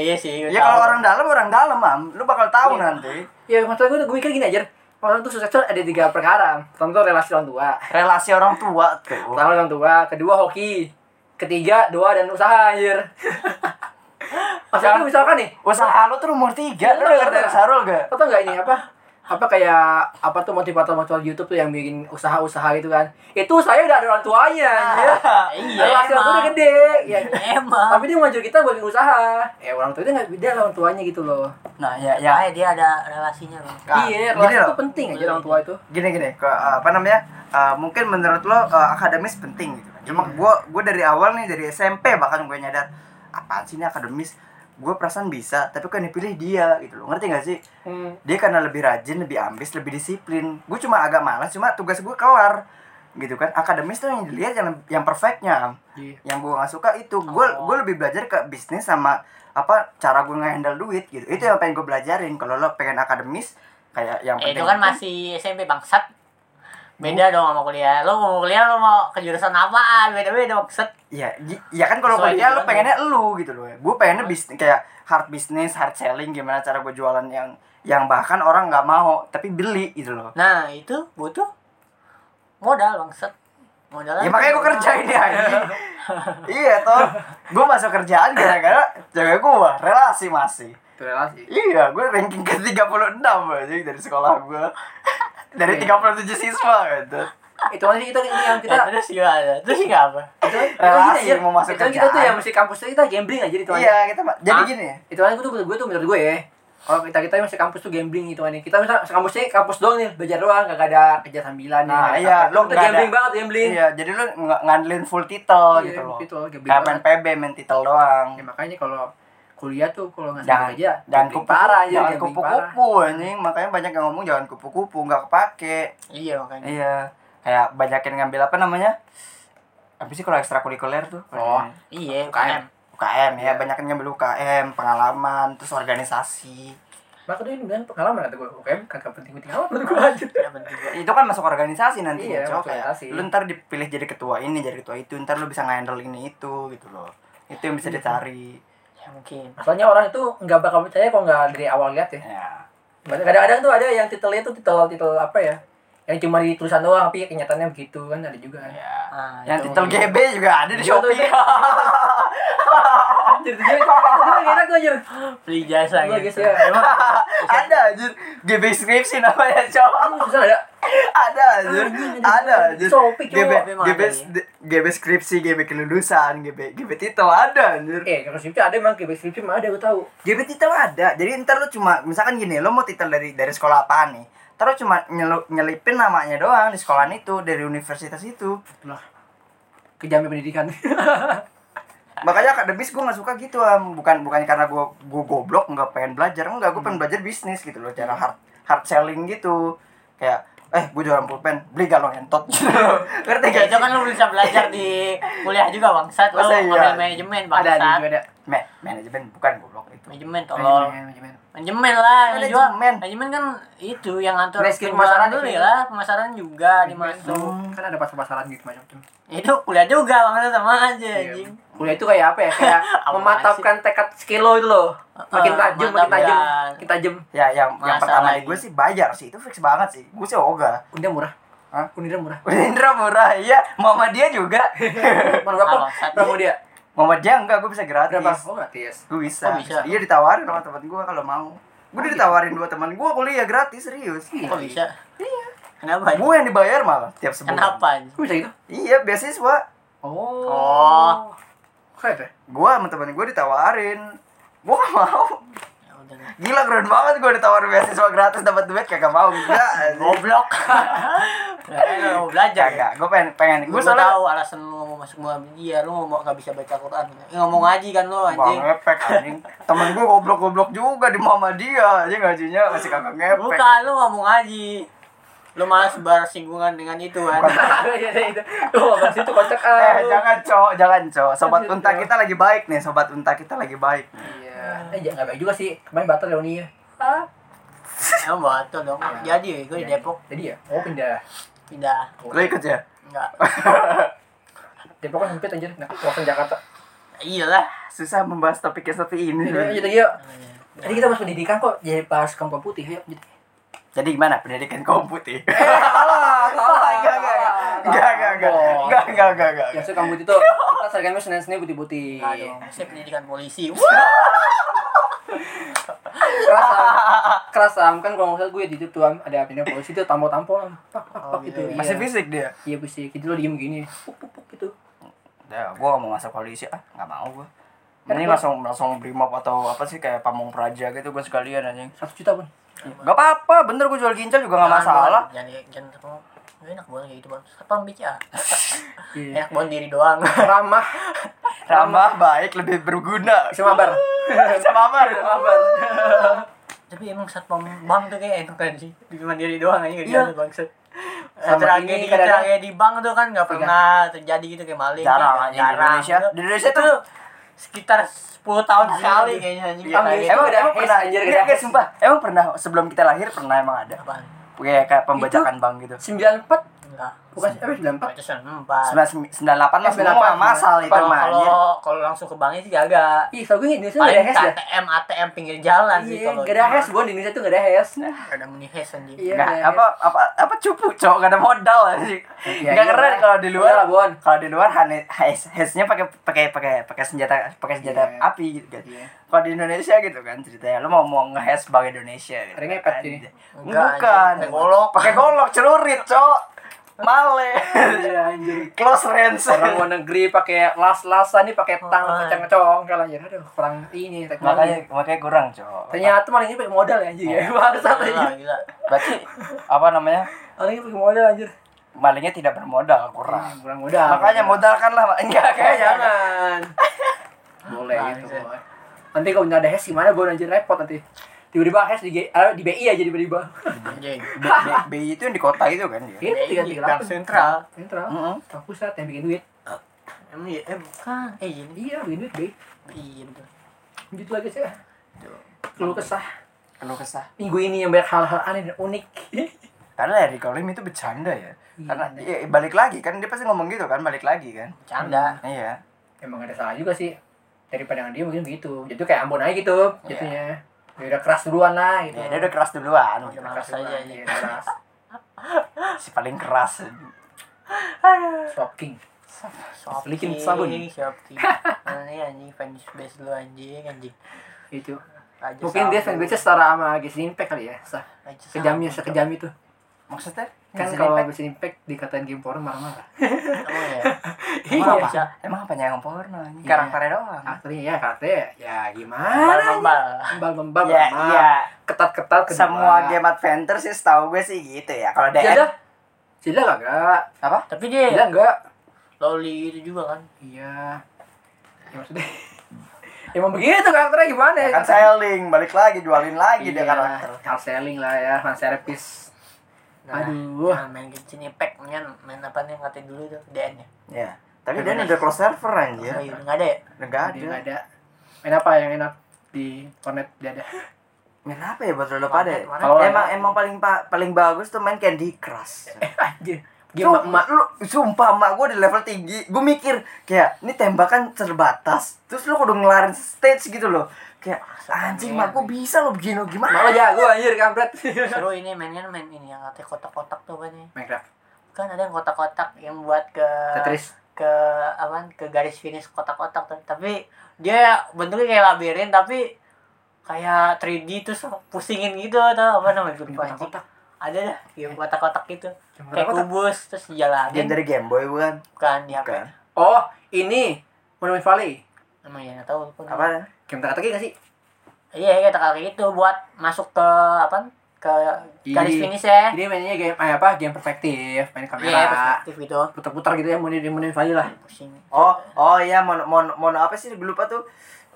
iya sih. gue
Ya
tahu.
kalau orang dalam, orang dalam, Mam Lu bakal tahu nanti
Ya maksud gue tuh gue mikir gini aja. Orang tuh sukses tuh ada tiga perkara. Pertama tuh relasi orang tua.
Relasi orang tua tuh
Pertama orang tua, kedua hoki, ketiga doa dan usaha anjir. [LAUGHS] Maksudnya misalkan nih,
Usaha lu tuh nomor tiga, lu
Iya,
denger dari
iya.
Sarul
[LAUGHS]
gak?
apa tau nggak ini apa? Apa kayak apa tuh motivator motivator YouTube tuh yang bikin usaha-usaha gitu kan? Itu saya udah ada orang tuanya anjir.
Iya,
Relasi orang tua udah
emang.
gede. Ya.
Emang.
Tapi dia ngajak kita buat bikin usaha. Eh orang tua itu nggak beda lah orang tuanya gitu loh.
Nah ya, ya
Ya, dia ada relasinya loh.
Nah,
iya,
gini
relasi itu
loh,
penting aja orang tua itu.
gini gini, ke, apa namanya? eh, mungkin menurut lo eh, akademis penting gitu. kan.
Iya.
Cuma gue gue dari awal nih dari SMP bahkan gue nyadar apaan sih ini akademis? Gue perasaan bisa, tapi kan dipilih dia gitu loh. Ngerti gak sih?
Hmm.
dia karena lebih rajin lebih ambis lebih disiplin gue cuma agak malas cuma tugas gue kelar gitu kan akademis tuh yang dilihat yang yang perfectnya
Iya.
yang gue nggak suka itu gue
Oh.
gue lebih belajar ke bisnis sama apa cara gue ngehandle duit gitu itu yang pengen gue belajarin kalau lo pengen akademis kayak yang
Eh,
penting
itu kan masih SMP bangsat. Beda dong sama kuliah. Lo mau kuliah lo mau ke jurusan apaan? Beda-beda maksud.
ya gi- ya kan kalau
Sesuai
kuliah lo
tujuan
pengennya lu gitu loh gue pengennya bisnis kayak hard business hard selling gimana cara gue jualan yang yang bahkan orang nggak mau tapi beli gitu loh
Nah, itu butuh modal bangsat. Modalnya.
Ya makanya gue kerja ini aja. [LAUGHS] iya toh, gue masuk kerjaan gara-gara cewek gue relasi masih.
Itu relasi.
Iya, gue ranking ke 36 aja dari sekolah gue. [LAUGHS] dari 37 siswa gitu.
Itu nanti kita ini yang
Ya,
kita
terus gimana? Terus nggak apa?
Relasi
ya.
mau masuk
itu kita
kerjaan.
tuh yang mesti kampus tuh kita gambling aja itu
Iya, kita ma- jadi
Ah.
gini ya.
itu kan gue tuh gue tuh menurut gue ya kalau kita kita yang masih kampus tuh gambling gitu kan kita misal kampusnya kampus doang nih belajar doang gak ada kerja sambilan ya,
Nah, iya,
apa.
lo
Itu
nggak ada-
gambling banget gambling
Iya, jadi lu nggak ngandelin full title
Iya,
gitu loh.
gitu, gambling
Kayak main PB, main title doang.
ya, makanya kalau kuliah tuh kalau nggak
jangan
sambil kerja
jangan
gambling Iya,
kupu
parah ya
jangan
gambling parah.
kupu-kupu anjing makanya banyak yang ngomong jangan kupu-kupu nggak kepake
Iya makanya.
Iya, kayak banyakin ngambil apa namanya? Apa sih kalau ekstrakurikuler tuh?
Oh. Iya.
Iya,
UKM.
UKM.
UKM ya banyak yang ngambil UKM pengalaman terus organisasi
Maka dia bilang pengalaman kata gue UKM kagak penting-penting amat menurut
[LAUGHS]
gue aja.
Tidak penting juga.
itu kan masuk organisasi
Iya,
nantinya cowok
masuk
kayak
organisasi.
lu ntar dipilih jadi ketua ini jadi ketua itu ntar lu bisa nge-handle ini itu gitu loh itu yang
Iya.
bisa dicari
Ya mungkin.
Soalnya orang itu nggak bakal percaya kalau nggak dari awal lihat ya.
ya
Kadang-kadang tuh ada yang titelnya tuh titel titel apa ya? Yang cuma di tulisan doang tapi kenyataannya begitu kan ada juga kan.
ya
Ah,
yang
itu
titel
mungkin.
GB juga ada
Iya,
di
tuh,
Shopee
itu. Anjir, jadi gue enak aja.
Beli jasa
Gua
gitu.
gitu ya.
Emang
ada anjir GB skripsi namanya cowok
Susah ada.
ada anjir ada anjir
Shopee, cowok.
GB
Memang
GB
ada,
GB skripsi GB kelulusan GB GB titel ada anjir
Eh, kalau skripsi ada emang kayak skripsi mah ada gue tahu.
GB titel ada jadi ntar lu cuma misalkan gini lu mau titel dari dari sekolah apaan nih ntar lu cuma nyelu- nyelipin namanya doang di sekolahan itu dari universitas itu
Kejamnya [LAUGHS] pendidikan.
makanya akademis gue nggak suka gitu am bukan bukan karena gue gue goblok nggak pengen belajar enggak gue
Hmm.
pengen belajar bisnis gitu loh cara hard hard selling gitu kayak eh gue jualan pulpen beli galon entot [LAUGHS] gitu ngerti
Ya,
gak
itu kan lu bisa belajar di kuliah juga bangsat lu
Masa iya?
ngambil manajemen
ada ada juga
bangsat
ada.
Me- manajemen bukan goblok itu
manajemen tolol
Manajemen.
manajemen lah yang jual
Manajemen.
manajemen kan itu yang ngatur penjualan
Rescue pemasaran
dulu
itu.
ya lah pemasaran juga dimasuk
Hmm.
Kan ada pasar-pasaran gitu macam-macam.
itu kuliah juga bangsat sama aja
Iya.
anjing
Kuliah itu kayak apa ya? [LAUGHS] Kayak
Apa
memantapkan tekad skill lo itu loh. Makin
Eh,
tajam, makin tajam,
mantapkan.
makin tajam.
ya yang yang
Masa
pertama
lagi.
gue sih bayar sih itu fix banget sih gue sih ogah [LAUGHS]
Unida murah.
Hah?
Unida murah.
Indra murah iya mama dia
[LAUGHS]
juga
Mana berapa?
Alasan.
Berapa dia?
mama dia enggak gue bisa
Berapa?
gratis
Oh, gratis.
gue bisa.
Oh, bisa. Oh, gitu.
iya ditawarin sama teman gue kalau mau gue udah ditawarin dua teman gue kuliah gratis serius
kok bisa kenapa
gue yang dibayar malah tiap sebulan
kenapa Ya anjing?
Kok bisa gitu?
Iya, beasiswa.
Oh.
Oh.
Keren deh.
Gua sama temen gue ditawarin. Gua gak mau.
Ya udah, nih.
Gila keren banget gua ditawarin beasiswa gratis dapat duit kagak mau. Enggak.
goblok Kayaknya lu mau belajar ya?
Kagak, gua pengen pengen
Gue
gua soalnya
tahu alasan lu mau masuk muhammadiyah lu mau nggak bisa baca Quran, Eh, ngomong ngaji kan lu
Bang
anjing.
ngepek anjing. Temen gua goblok-goblok juga di mama dia. Aja ngajinya masih kagak ngepek.
Bukan lu ngomong ngaji. Lu malah sebar singgungan dengan itu kan.
[LAUGHS] Iya, iya, itu. Oh, masih itu kocak.
Eh,
ah.
jangan cok, jangan cok. Sobat
Lanjut,
unta
Cok.
kita lagi baik nih, sobat unta kita lagi baik.
Iya. Eh, jangan baik juga sih. Kemarin batal Leonia. Ah.
Emang batu Ya, dong.
Iya.
Jadi gue di Depok
Jadi ya. Oh, pindah.
pindah.
Oh,
Lo ikut ya?
Enggak.
Depok kan sempit anjir. Nah, kawasan Jakarta.
Iyalah.
Susah membahas topiknya seperti ini.
Yaudah, Lanjut lagi yuk.
Iya.
Tadi kita bahas pendidikan kok jadi bahas kampung putih yuk.
Jadi gimana pendidikan kaum putih? [LAUGHS]
Salah, salah,
Enggak, enggak, enggak, enggak, enggak, enggak, enggak, enggak, enggak, enggak.
Ya, so kamu itu kita seragamnya senin-senin putih-putih.
Aduh, saya pendidikan polisi. Wah,
keras am. keras am kan kalau nggak salah gue di YouTube tuh am ada pindah polisi itu tampo tampo am pak pak
Oh,
pak
gitu
gitu
ya.
Masih
iya.
fisik dia.
iya bisik itu lo diem gini puk puk puk gitu
Ya, gua nggak mau masuk polisi ah, nggak mau gua. Mending langsung langsung brimob atau apa sih kayak pamong praja gitu gua sekalian anjing.
satu juta pun
Gak apa-apa, bener gua jual ginjal juga nggak masalah.
Jangan jangan jangan Gak enak banget kayak gitu bang. Sepang bicara.
iya
Enak banget diri doang.
ramah
Ramah baik lebih
[LAUGHS]
berguna.
bisa mabar
Bisa mabar.
Tapi emang satpam bang tuh kayak enak kan sih. Cuma diri doang aja
Iya.
gitu bangsat. Eh,
Sama
Tragedi
ini kadang-kadang- Iya.
tragedi bank tuh kan nggak pernah terjadi gitu kayak maling.
Jarang
kan?
aja di Indonesia. Di Indonesia tuh
sekitar 10 tahun sekali kayaknya anjing.
Iya,
kayak
iya.
gitu.
Emang,
Ada
emang
haze,
pernah
anjir,
anjir
ada haze.
sumpah. Emang pernah sebelum kita lahir pernah emang ada.
Apaan?
Kayak kayak pembajakan bank gitu.
sembilan empat
Enggak.
bukan eh sembilan empat
Itu sempat.
98 lah semua
98,
masal itu
Kalau
mah anjir.
kalau- kalau langsung ke banknya sih jaga.
Ih, tau gue Indonesia nggak
Paling
ada hash ya?
ATM ATM pinggir jalan sih
Iya,
kalau.
nggak ada hash. Gue di Indonesia tuh nggak ada hash.
Nggak ada muni hash anjing.
Iya,
Nggak,
nggak
apa apa apa cupu cowok gak ada modal anjing.
Iya,
Nggak
iya,
keren
lah.
kalau di luar
Iya lah, Bon.
Kalau di luar hesnya pakai pakai pakai pakai senjata pakai senjata
Iya.
api gitu kan.
Iya.
Kalau di Indonesia gitu kan ceritanya lu mau mau ngehes bang Indonesia gitu.
Ada ngepet
kan.
sih.
Enggak,
Bukan.
anjing. Pakai golok.
Pakai golok celurit, cowok.
[LAUGHS]
Male.
Iya, anjir.
Close range.
Orang luar negeri pakai las-lasan nih pakai tang
Oh,
kecang kecong kalau anjir. Aduh, kurang Ya ini
makanya
teknologi.
makanya kurang, cowok. Iya,
Ternyata malah ini pakai modal ya anjir. Ya, bangsat
Gila,
anjir.
gila.
berarti apa namanya?
Orang ini pakai modal anjir.
Malingnya tidak bermodal, kurang.
Iya, Kurang Iya, modal.
Makanya modalkanlah, enggak
kayak
kayak
Eh, jangan. Boleh
Nah,
gitu.
bisa.
Boy. Nanti kalau nggak ada hash gimana gue anjir repot nanti. Tiba-tiba hash di, G- eh, di BI aja tiba-tiba.
Anjing.
BI
Iya.
itu yang di kota itu kan dia.
Ini tiga tiga
Bank sentral.
Sentral.
Mm-mm.
Bank pusat yang bikin duit.
Emang iya, eh bukan. Eh iya, nih.
Iya, beli duit, Bey.
iya betul.
Gitu lagi sih. Keluh kesah.
Keluh kesah.
Minggu ini yang banyak hal-hal aneh dan unik. [LAUGHS]
Karena Larry Colim itu bercanda
Iya,
ya. Karena ya, balik lagi kan dia pasti ngomong gitu kan, balik lagi kan.
Bercanda.
Iya.
Emang ada salah juga sih. Dari pandangan dia mungkin begitu. Jadi kayak Ambon aja gitu, jatuhnya. Ya udah keras duluan lah gitu.
Ya, dia udah keras duluan. gitu.
Keras aja,
duluan,
iya.
iya, keras.
Si paling keras.
Shocking. Selikin
Shopping,
sabun. [LAUGHS]
shopping. Mana nih anjing fanbase lu anjing anjing.
Itu.
Raja
Gitu. Mungkin dia
sabun.
fanbase setara sama Genshin Impact kali ya. Sa.
Raja
Sejamnya,
sabun.
sekejam itu.
Maksudnya?
Kan
Genshin
kalau
Impact?
Genshin Impact dikatain game porno
[LAUGHS]
marah-marah.
Emang
[LAUGHS]
ya.
Emang
Iya.
apa? Emang apa yang porno? anjing?
Iya.
Karakternya doang.
Akhirnya ya katanya ya gimana?
Bambal.
Bal membal
Iya, iya.
ketat-ketat kedua.
Semua game adventure sih setahu gue sih gitu ya. Kalau
Iya
DM
dah. Sila kagak.
apa?
Tapi
Sila
dia
enggak.
loli itu juga kan.
Iya. Ya maksudnya. [LAUGHS] Emang begitu karakternya gimana
Ya
ya?
kan selling, balik lagi, jualin lagi
Iya,
dia karakter.
hard selling lah ya, fan service.
Nah,
Aduh.
nah, main Genshin Impact mendingan main apa nih yang ngatain dulu tuh DN-nya.
Iya. Tapi dia udah close server anjir.
Iya, enggak ya? ada ya?
Udah nggak
Jadi
ada.
nggak ada. Main apa yang enak di Cornet dia ada? [LAUGHS]
Main apa ya buat lo pada? ya?
Warnet,
warnet.
Emang emang paling pa- paling bagus tuh main Candy Crush.
Eh, Anjir. Game
Sumpah,
emak-emak.
lu, sumpah mak gue di level tinggi Gue mikir kayak ini tembakan terbatas Terus lu kudu ngelarin stage gitu loh Kayak anjing mak gue bisa lo begini gimana
Malah jago anjir kampret. [LAUGHS]
Seru ini mainnya main ini yang ngatain kotak-kotak tuh kan ya.
Minecraft.
Kan ada yang kotak-kotak yang buat ke
Tetris.
ke apa ke garis finish kotak-kotak tuh. Tapi dia bentuknya kayak labirin tapi kayak 3D terus pusingin gitu atau apa namanya gue lupa anjing.
Kotak-kotak.
Ada dah game kotak-kotak gitu.
Game
Kayak
kotak-kotak.
kubus terus dijalanin.
Game dari Game Boy kan. bukan?
bukan di HP.
Bukan
Oh, ini Monument Valley.
Emang ya nggak tahu pun.
Apa?
Game teka-teki nggak sih?
Iya, kita kali itu buat masuk ke apa? ke garis
Jadi-
finish ya.
Jadi mainnya game eh, apa? Game perspektif, main kamera.
Iya, perspektif gitu.
putar-putar gitu ya Monumen Monumen Valley lah.
Pusing.
Oh, oh iya, mono, mono, mono apa sih? Gue lupa tuh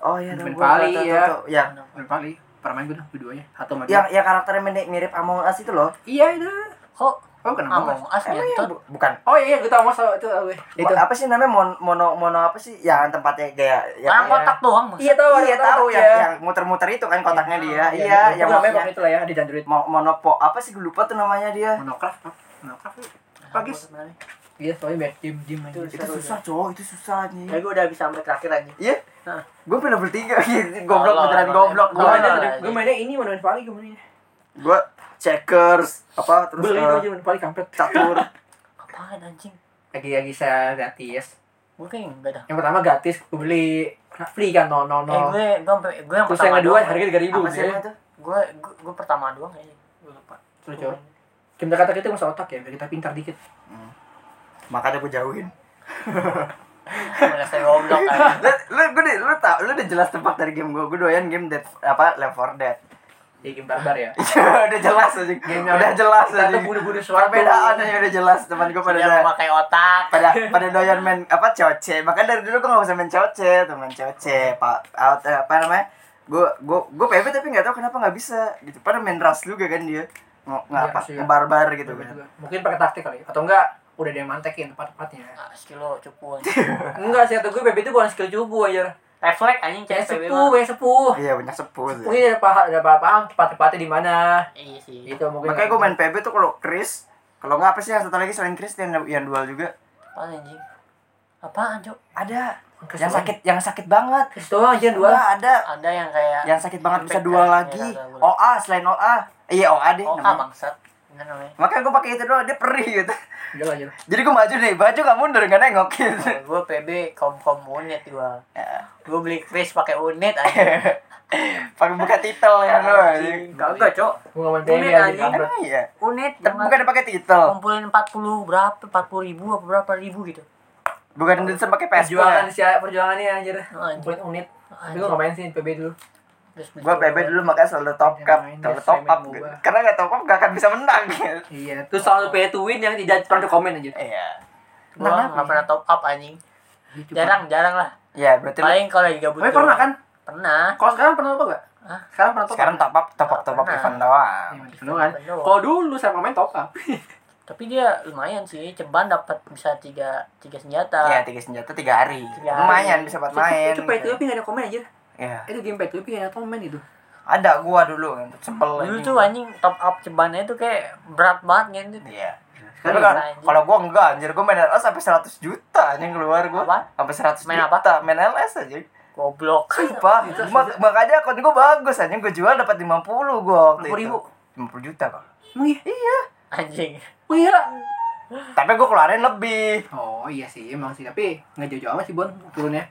Oh iya,
Monumen
tuh, gua-
Valley,
tuh, tuh,
ya.
tuh, Yang,
Monumen Valley. Pernah main gue tuh keduanya atau sama dia.
yang, yang ya, karakternya mirip, mirip Among Us itu loh
Iya itu.
Kok
Oh kenapa?
Among Us gitu?
Emang iya,
nyentuh?
bu- bukan
Oh iya, iya gue tau mas itu tahu gue. Itu.
Apa sih namanya mon- mono, mono, apa sih? Ya, Yang tempatnya kayak yang,
Orang kotak doang Mas.
Iya tahu, ada
Iya tahu
ya.
yang, yang muter-muter itu kan kotaknya dia. Iya, yang
yang namanya
maksudnya
pokoknya itu lah ya di Android.
mo- monopo apa sih gue lupa tuh namanya dia.
Monocraft, apa? Monocraft. ya. Bagus. Iya, soalnya banyak game game aja.
Itu-
Itu
Seru,
susah, cowok, itu susah
Tapi
nih.
gue udah habis sampai terakhir aja.
Iya.
Nah.
Gue pernah bertiga [LAUGHS] gitu, goblok
Allah,
beneran
emang-
goblok
Gue
Gua
gue.
emang-
mainnya,
ada-
gue mainnya ini Monumen Valley gue mainnya.
Gue checkers apa terus
Beli itu
eh,
aja Monumen Valley kampret. [LAUGHS]
catur.
Apaan anjing?
Lagi-lagi saya gratis.
Gue kayak enggak dah.
Yang pertama gratis, gue beli Karena free kan, no
Eh
no no.
gue gue sampai- gue yang
Terus
pertama
yang kedua
doang.
harganya tiga ribu.
Apa sih namanya tuh?
Gue gue gue pertama doang kayaknya. Gue lupa.
Terus coba. Game teka-teki itu masa otak ya, biar kita pintar dikit.
Makanya gue jauhin.
Mulai saya goblok aja.
Lu lu gue lu tau lu udah jelas tempat dari game gue. Gue doyan game Dead apa Left 4 Dead. [LAUGHS]
Jadi game barbar ya.
udah jelas aja.
Game yang
Udah jelas
Kita
aja.
tuh bunuh-bunuh suara
Perbedaannya udah jelas teman gue pada
Dia memakai otak.
pada pada doyan main apa coce makanya dari dulu gue nggak bisa main coce tuh main coce pak out eh, apa namanya gue gue gue PB tapi nggak tahu kenapa nggak bisa gitu pada main ras juga kan dia nggak nggak
Iya,
apa
sih. Iya,
ngebarbar gitu
Bener
kan
juga. Mungkin pakai taktik kali atau enggak udah ada yang mantekin
[LAUGHS]
tempat-tempatnya.
Ah, Skill lo cupu anjing.
Enggak sih, atau gue baby itu bukan skill cupu aja.
Reflek anjing
Kayak
cewek PB
sepuh, kayak sepuh.
iya banyak sepuh sih.
Mungkin ada paham, ada paham tempat-tempatnya di mana.
Iya sih.
Gitu mungkin.
makanya gue main PB tuh kalau Chris kalau nggak apa sih yang satu lagi selain Chris yang yang dual juga
Apaan anjing? Apaan, Cuk?
ada
Chris
yang
doang.
sakit yang sakit banget
Terus doang anjir dua.
dua ada
Ada yang kayak
yang sakit banget bisa
Impact
dua
kan?
lagi
Iya, kagak boleh.
OA selain OA iya OA deh
Oh, ah,
namanya.
bangsat. Ini namanya.
makanya gue pakai itu doang dia perih gitu
Udah aja.
Jadi gue maju deh, baju gak mundur, gak nengok gitu.
gue PB kom kom unit gua gue beli kris pakai unit aja
[LAUGHS] Pakai buka titel ya lo.
kagak cok
Gue enggak main
Mungkin
PB anjir
anjing.
kampret.
Emang iya.
unit
Tapi
jangan
bukan pakai titel.
kumpulin 40 berapa 40 ribu apa berapa ribu gitu
Bukan Indonesia pakai PSP.
Perjuangan siapa perjuangannya anjir.
Anjing.
Kumpulin unit. Tapi
Anjing.
gue enggak main sih PB dulu.
Terus beli
Gue PB dulu makanya selalu top
Yang
cup,
main
selalu
dia
top
main
up.
MOBA.
gitu. Karena gak top up gak akan bisa menang [LAUGHS] gitu.
Iya, terus selalu pay to win yang tidak pernah komen anjir.
Iya.
gua nggak pernah top up anjing jarang jarang lah
Iya, berarti lu-
paling kalau lagi gabut
Gitu, Tapi
doang.
pernah kan?
pernah
Kalau sekarang pernah apa enggak?
Hah?
Sekarang pernah apa?
sekarang top up, top up, top
Iya.
up
Pernah.
event doang.
Bener kan? Kalau dulu saya main top up.
tapi dia lumayan sih ceban dapat bisa tiga tiga senjata
Iya, tiga senjata tiga hari.
Tiga hari.
Lumayan bisa buat main.
Itu pay to win ada komen aja.
Iya.
Itu game pay to win ada komen itu.
Ada gua dulu kan,
dulu
sebel anjing.
tuh anjing top up cebannya tuh kayak berat banget kan
Iya. Tapi
Sekarang
kan
gimana, anjing?
kalau gua enggak anjir gua main LS sampai 100 juta anjing keluar gua.
Apa?
Sampai 100
Main apa?
juta main LS aja.
goblok
Sumpah. Mak makanya akun gua bagus anjing gua jual dapat 50 gua waktu
50 ribu.
itu. 50 juta kok.
Emang iya?
anjing
Emang iya lah.
Tapi gua keluarin lebih.
Oh iya sih emang sih tapi nggak jauh-jauh amat sih Bon turunnya.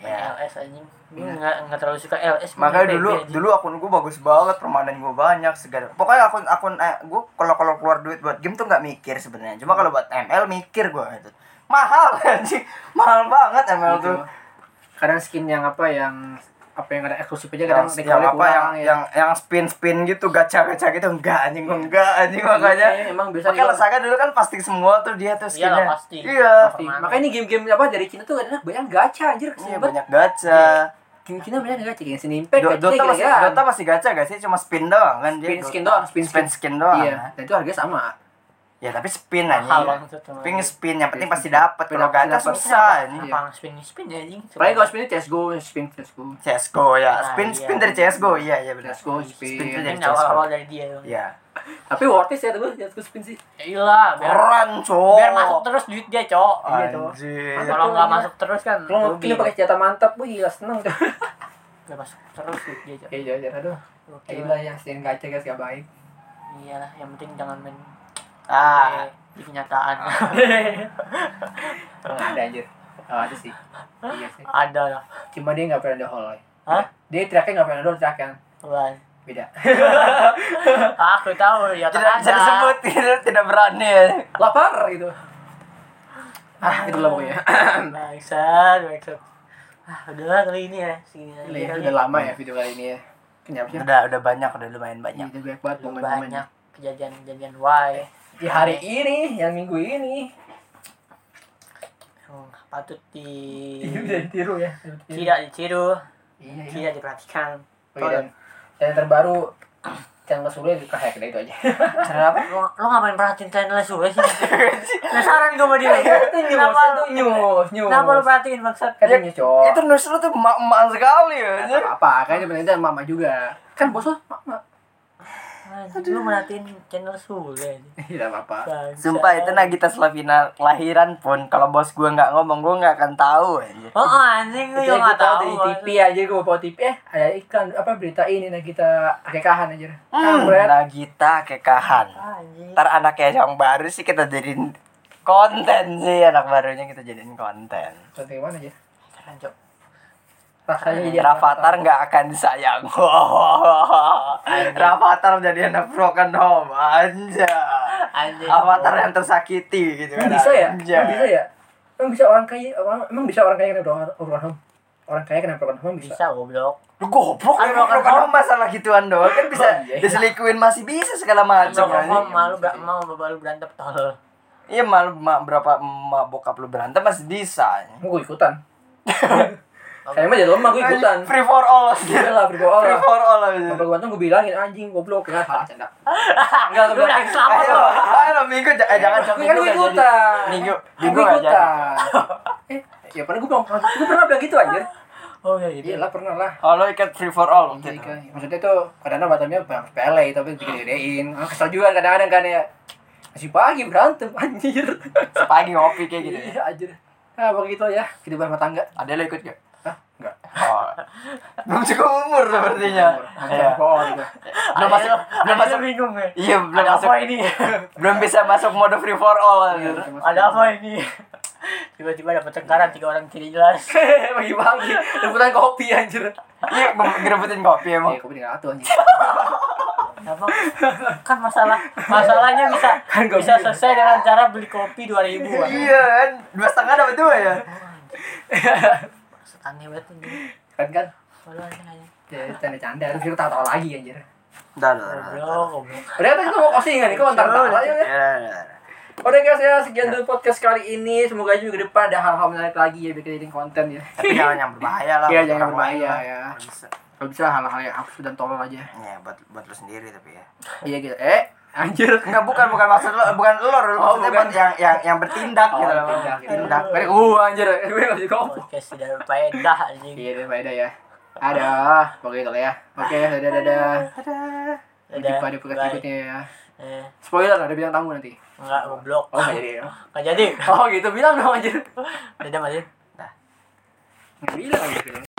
Ya.
LS anjing gue nggak nggak terlalu suka LS
Makanya
PB,
dulu
anjing.
dulu akun gua bagus banget, permainan gua banyak segala. Pokoknya akun akun eh, gua kalau kalau keluar duit buat game tuh nggak mikir sebenarnya. Cuma kalau buat ML mikir gua itu. Mahal [LAUGHS] anjing. Mahal banget ML
Gitu.
tuh.
Kadang skin yang apa yang apa yang ada eksklusif aja kadang
yang, yang
rekalnya
apa yang,
kurang, ya.
yang yang spin spin gitu gacha gacha gitu enggak anjing gua enggak anjing makanya
Iya, emang biasa
makanya
gitu.
lesaga dulu kan pasti semua tuh dia
Iyalah,
tuh skinnya
pasti.
iya
Pasti. Makanya ini game-game apa dari Cina tuh kadang banyak gacha anjir
Iya,
kesian banget.
banyak gacha
Game Cina banyak gacha kayak Sin Impact,
Do-
gacha
Dota masih
gila-gilaan.
Dota masih gacha gak sih cuma spin doang kan dia
Spin
Dota.
skin doang, spin
spin
skin.
skin doang
Iya,
kan?
dan itu harganya sama.
ya tapi spin
mahal
aja
banget tuh cuma
spin spin yang penting
Spin.
pasti dapat
Spin
kalau
dapat,
gacha
dapat.
susah ini
apa spin spin anjing
Paling kalau spin itu CSGO, spin CSGO.
CSGO ya
Ah,
spin
iya.
spin dari CSGO iya iya benar
CSGO,
Spin itu
spin.
dari-
Ini awal-awal dari dia tuh.
iya
Tapi worth it sih tuh, ya tuh spin sih.
Ya iyalah, biar,
keren cowok
biar masuk terus duit dia, Cok.
Iya, cowok.
anjir
Kalau nggak
Iya.
masuk terus kan,
Kalau
rugi.
kita pakai senjata mantap, wih gila seneng tuh.
Nggak masuk terus duit dia, Cok.
[LAUGHS] Iya, iya, aduh.
Oke.
Gila yang skin gacha guys gak baik.
Iyalah, yang penting jangan main
ah
di kenyataan.
Enggak ada anjir. Oh, ada sih. Iya sih.
[LAUGHS] Ada lah.
Cuma dia gak pernah ada hall.
Hah?
Dia tracknya gak pernah ada hall, track yang
Wah.
beda. [LAUGHS]
Aku tahu ya kan
tidak bisa disebut [LAUGHS] tidak tidak berani ya.
Lapar gitu. Ah, gitu lah [LAUGHS] pokoknya.
[COUGHS] Bangsat, bangsat. Ah, udahlah kali ini ya. Segini aja
Ini
kali.
udah lama ya video kali ini ya. Kenapa sih?
Udah, udah banyak, udah lumayan banyak.
Udah banyak banget momen-momen.
Banyak kejadian-kejadian why.
Di hari ini, yang minggu ini.
Hmm, patut di
[LAUGHS] Iya bisa ditiru ya.
tidak ditiru,
Iya, iya.
tidak diperhatikan.
Oh, iya. Dan yang terbaru channel kesulitan itu kayak nah, itu aja.
Cara apa?
Lo, lo ngapain perhatiin channel Sule sih? Penasaran gue sama
Iya,
dia. Iya, Kenapa lo,
news, news.
kenapa lo perhatiin maksud?
Kan news, Cok.
Itu news lu tuh emak-emak sekali ya.
Nggak apa-apa, kan sebenarnya itu mama juga. Kan bos lo [LAUGHS] mama.
Lo merhatiin channel Sule.
Tidak Iya, apa-apa.
Bangsat.
Sumpah itu nah, Nagita Slavina lahiran pun kalau bos gua nggak ngomong gua nggak akan tahu aja.
Oh anjing lo yang
Itu yang gue
nggak
tahu
tahu.
di TV aja gue mau TV eh ada iklan apa berita ini nah kita akekahan aja.
Hmm,
Kampret.
Nagita kekahan.
Anjing.
Ntar anaknya yang baru sih kita jadiin konten sih anak barunya kita jadiin konten.
Contoh yang mana aja?
Keren, Cok.
Rasanya
Iya.
jadi
Rafathar nggak akan disayang. [LAUGHS] Rafathar menjadi anak broken home aja.
Anjing.
Avatar yang tersakiti gitu
Emang bisa
Iya.
ya?
Anjay.
Emang bisa ya? Emang bisa orang kaya, orang- emang bisa orang kaya kena broken broken home? Orang kaya kena broken home bisa.
Bisa goblok.
Lu goblok
Kan
kan
broken
broken home masalah gituan doang kan bisa
Oh, iya.
diselikuin masih bisa segala macam
Cok,
kan.
mau malu gak mau baru berantem tol.
Iya malu ma, berapa ma, bokap lu berantem masih bisa.
Emang gue ikutan. Kayak emang jadi lemah gue ikutan.
Free for
Gila
all gitu.
lah, beri bawa
Free
lah.
for all gitu.
Bapak gue tuh gue bilangin anjing goblok ya salah canda.
Enggak
lu
lu udah
bilang-
selamat
Ayo,
lo.
ayo minggu ja- eh, jangan
Kan
jangan
gue
minggu. gak jadi.
ikutan.
Minggu, minggu
Gue
gak jadi.
ikutan. Eh, ya pernah gue bilang, gue pernah bilang gitu anjir.
Oh ya gitu.
Iya lah pernah lah.
Oh lo ikat free for all
Jadi
gitu.
kayak- Maksudnya tuh kadang-kadang batamnya bang sepele tapi gede-gedein. Ah, Kesel juga kadang-kadang kan ya. Masih pagi berantem anjir.
Sepagi ngopi kayak gitu.
Iya anjir. Nah, begitu ya kehidupan rumah tangga.
Ada lo ikut gak?
Hah? Enggak.
Oh. Belum cukup umur sepertinya. Iya. Belum masuk, belum masuk.
bingung ya.
Iya, belum
Ada
masuk.
apa ini?
Belum bisa masuk mode free for all. gitu.
Ada apa ini? Tiba-tiba ada pertengkaran tiga orang tidak jelas.
Pagi-pagi rebutan kopi anjir.
Iya, gue ngerebutin kopi emang.
Iya, kopi dengan atuh anjir.
Kenapa? Kan masalah masalahnya bisa
Kan gak
bisa
bisa.
selesai dengan cara beli kopi 2000 ribuan.
Iya kan, dua setengah dapat dua ya.
Aneh banget ini.
Kan kan
Walau aneh aja.
Ya, canda-canda terus kita tahu lagi anjir.
Udah, udah,
Goblok, goblok.
Udah kan kita mau closing kan, ini kok ntar-ntar aja ya. Oke guys ya, sekian dulu podcast kali ini. Semoga aja minggu depan ada hal-hal menarik lagi ya bikin editing konten ya.
Tapi jangan yang berbahaya lah.
Iya,
buat
jangan
orang
berbahaya,
lain
ya.
Bisa. iya,
Kalau bisa hal-hal yang absurd dan tolol aja.
Ya, buat buat lu sendiri tapi ya.
Iya gitu. Eh, Anjir. [LAUGHS]
Enggak bukan bukan maksud lo bukan lo Rul.
Oh,
maksudnya
bukan.
buat yang yang yang bertindak
Oh,
gitu loh.
bertindak, gitu.
Tindak.
Mereka gua anjir. [LAUGHS] Gue enggak juga.
podcast tidak berfaedah anjing
Iya, ini beda ya. Ada, pokoknya kalau ya. Oke, dadah dadah.
Dadah,
Jumpa di podcast
bye.
berikutnya ya.
eh,
Spoiler ada bilang tamu nanti.
enggak goblok
Oh, nggak jadi ya.
nggak jadi ya.
Oh, gitu bilang dong anjir.
dadah Mas Im.
Nggak bilang gitu. anjir.